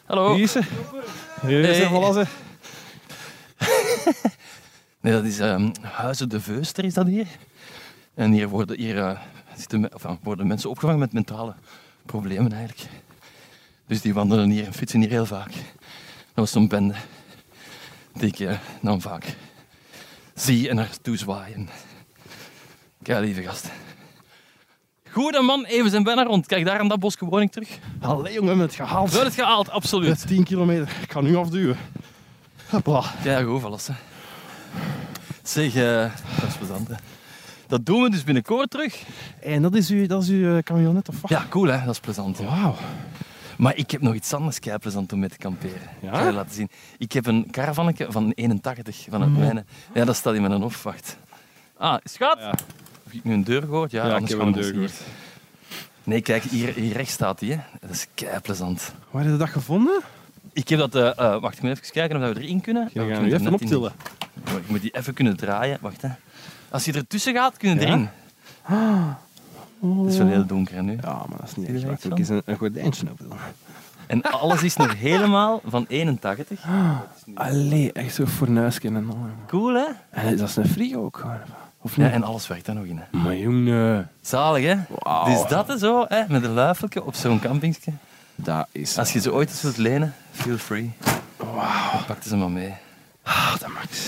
Speaker 1: Hallo.
Speaker 2: Hier is ze. Hier is ze,
Speaker 1: Oh. Hey.
Speaker 2: voilà ze.
Speaker 1: Nee, dat is ehm, Huizen de Veuster, is dat hier. En hier worden, hier, eh, zitten, me- enfin, worden mensen opgevangen met mentale problemen eigenlijk. Dus die wandelen hier en fietsen hier heel vaak. Dat was zo'n bende die ik eh, dan vaak zie en naartoe zwaaien. Kijk, lieve gast. Goede man, even zijn bijna rond. Kijk daar aan dat bosje woning terug.
Speaker 2: Allee jongen, het gehaald.
Speaker 1: Wel het gehaald,
Speaker 2: Dat
Speaker 1: absoluut.
Speaker 2: is 10 kilometer. Ik ga nu afduwen. Hopla.
Speaker 1: Ja, goed, alles. Hè. Zeg, eh, dat is plezant. hè. Dat doen we dus binnenkort terug.
Speaker 2: En dat is uw, dat is uw eh, camionet of wat?
Speaker 1: Ja, cool hè, dat is plezant. ja.
Speaker 2: Wauw.
Speaker 1: Maar ik heb nog iets anders kei plezant om mee te kamperen.
Speaker 2: Ja?
Speaker 1: Ik ga je laten zien. Ik heb een caravannetje van 81 van het mijne. Ja, dat staat in mijn opwacht. Ah, schat!
Speaker 2: Ja.
Speaker 1: Heb ik nu een deur gehoord? Ja, anders gaan we ons niet-
Speaker 2: gehoord.
Speaker 1: Nee, kijk, hier, hier rechts staat die. Hè. Dat is kei plezant.
Speaker 2: Waar heb je dat gevonden? ik
Speaker 1: Ik heb dat... eh, eh, wacht, ik moet even kijken of dat we erin kunnen.
Speaker 2: ga
Speaker 1: Oh, ik
Speaker 2: je
Speaker 1: moet
Speaker 2: nu
Speaker 1: er
Speaker 2: even
Speaker 1: net in.
Speaker 2: optillen.
Speaker 1: Oh, Ik moet die even kunnen draaien. Wacht, hè. Als je ertussen gaat, kunnen
Speaker 2: Ja?
Speaker 1: erin. Het is wel heel donker hè, nu.
Speaker 2: Ja, maar dat is niet
Speaker 1: Zie je
Speaker 2: echt
Speaker 1: er
Speaker 2: waar.
Speaker 1: iets van?
Speaker 2: Ik eens een, een gordijntje op doen.
Speaker 1: En alles is nog helemaal van 81.
Speaker 2: Allee, echt zo fornuisken en al.
Speaker 1: Cool, hè?
Speaker 2: En Eh, dat is een frigo ook gewoon. Of
Speaker 1: Ja,
Speaker 2: niet?
Speaker 1: en alles werkt daar nog in, hè.
Speaker 2: Maar jongen,
Speaker 1: Zalig, hè?
Speaker 2: Wauw.
Speaker 1: Dus dat is zo, hè? Met een luifeltje op zo'n campingstje.
Speaker 2: dat is...
Speaker 1: Als je ze ooit eens wilt lenen, feel free. Wauw. Pak ze maar mee.
Speaker 2: Ah, dat max.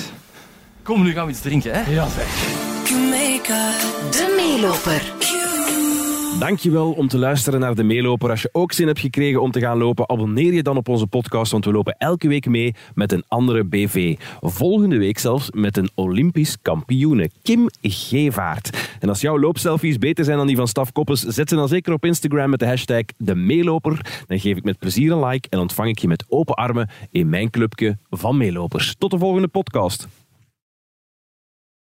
Speaker 1: Kom, nu gaan we iets drinken, hè?
Speaker 2: Ja zeg.
Speaker 3: Jamaica, de meeloper.
Speaker 4: Dankjewel om te luisteren naar De Meeloper. Als je ook zin hebt gekregen om te gaan lopen, abonneer je dan op onze podcast, want we lopen elke week mee met een andere BV. Volgende week zelfs met een Olympisch kampioene, Kim Gevaert. En als jouw loopselfies beter zijn dan die van Staf Koppes, zet ze dan zeker op Instagram met de hashtag De Meeloper. Dan geef ik met plezier een like en ontvang ik je met open armen in mijn clubje van meelopers. Tot de volgende podcast.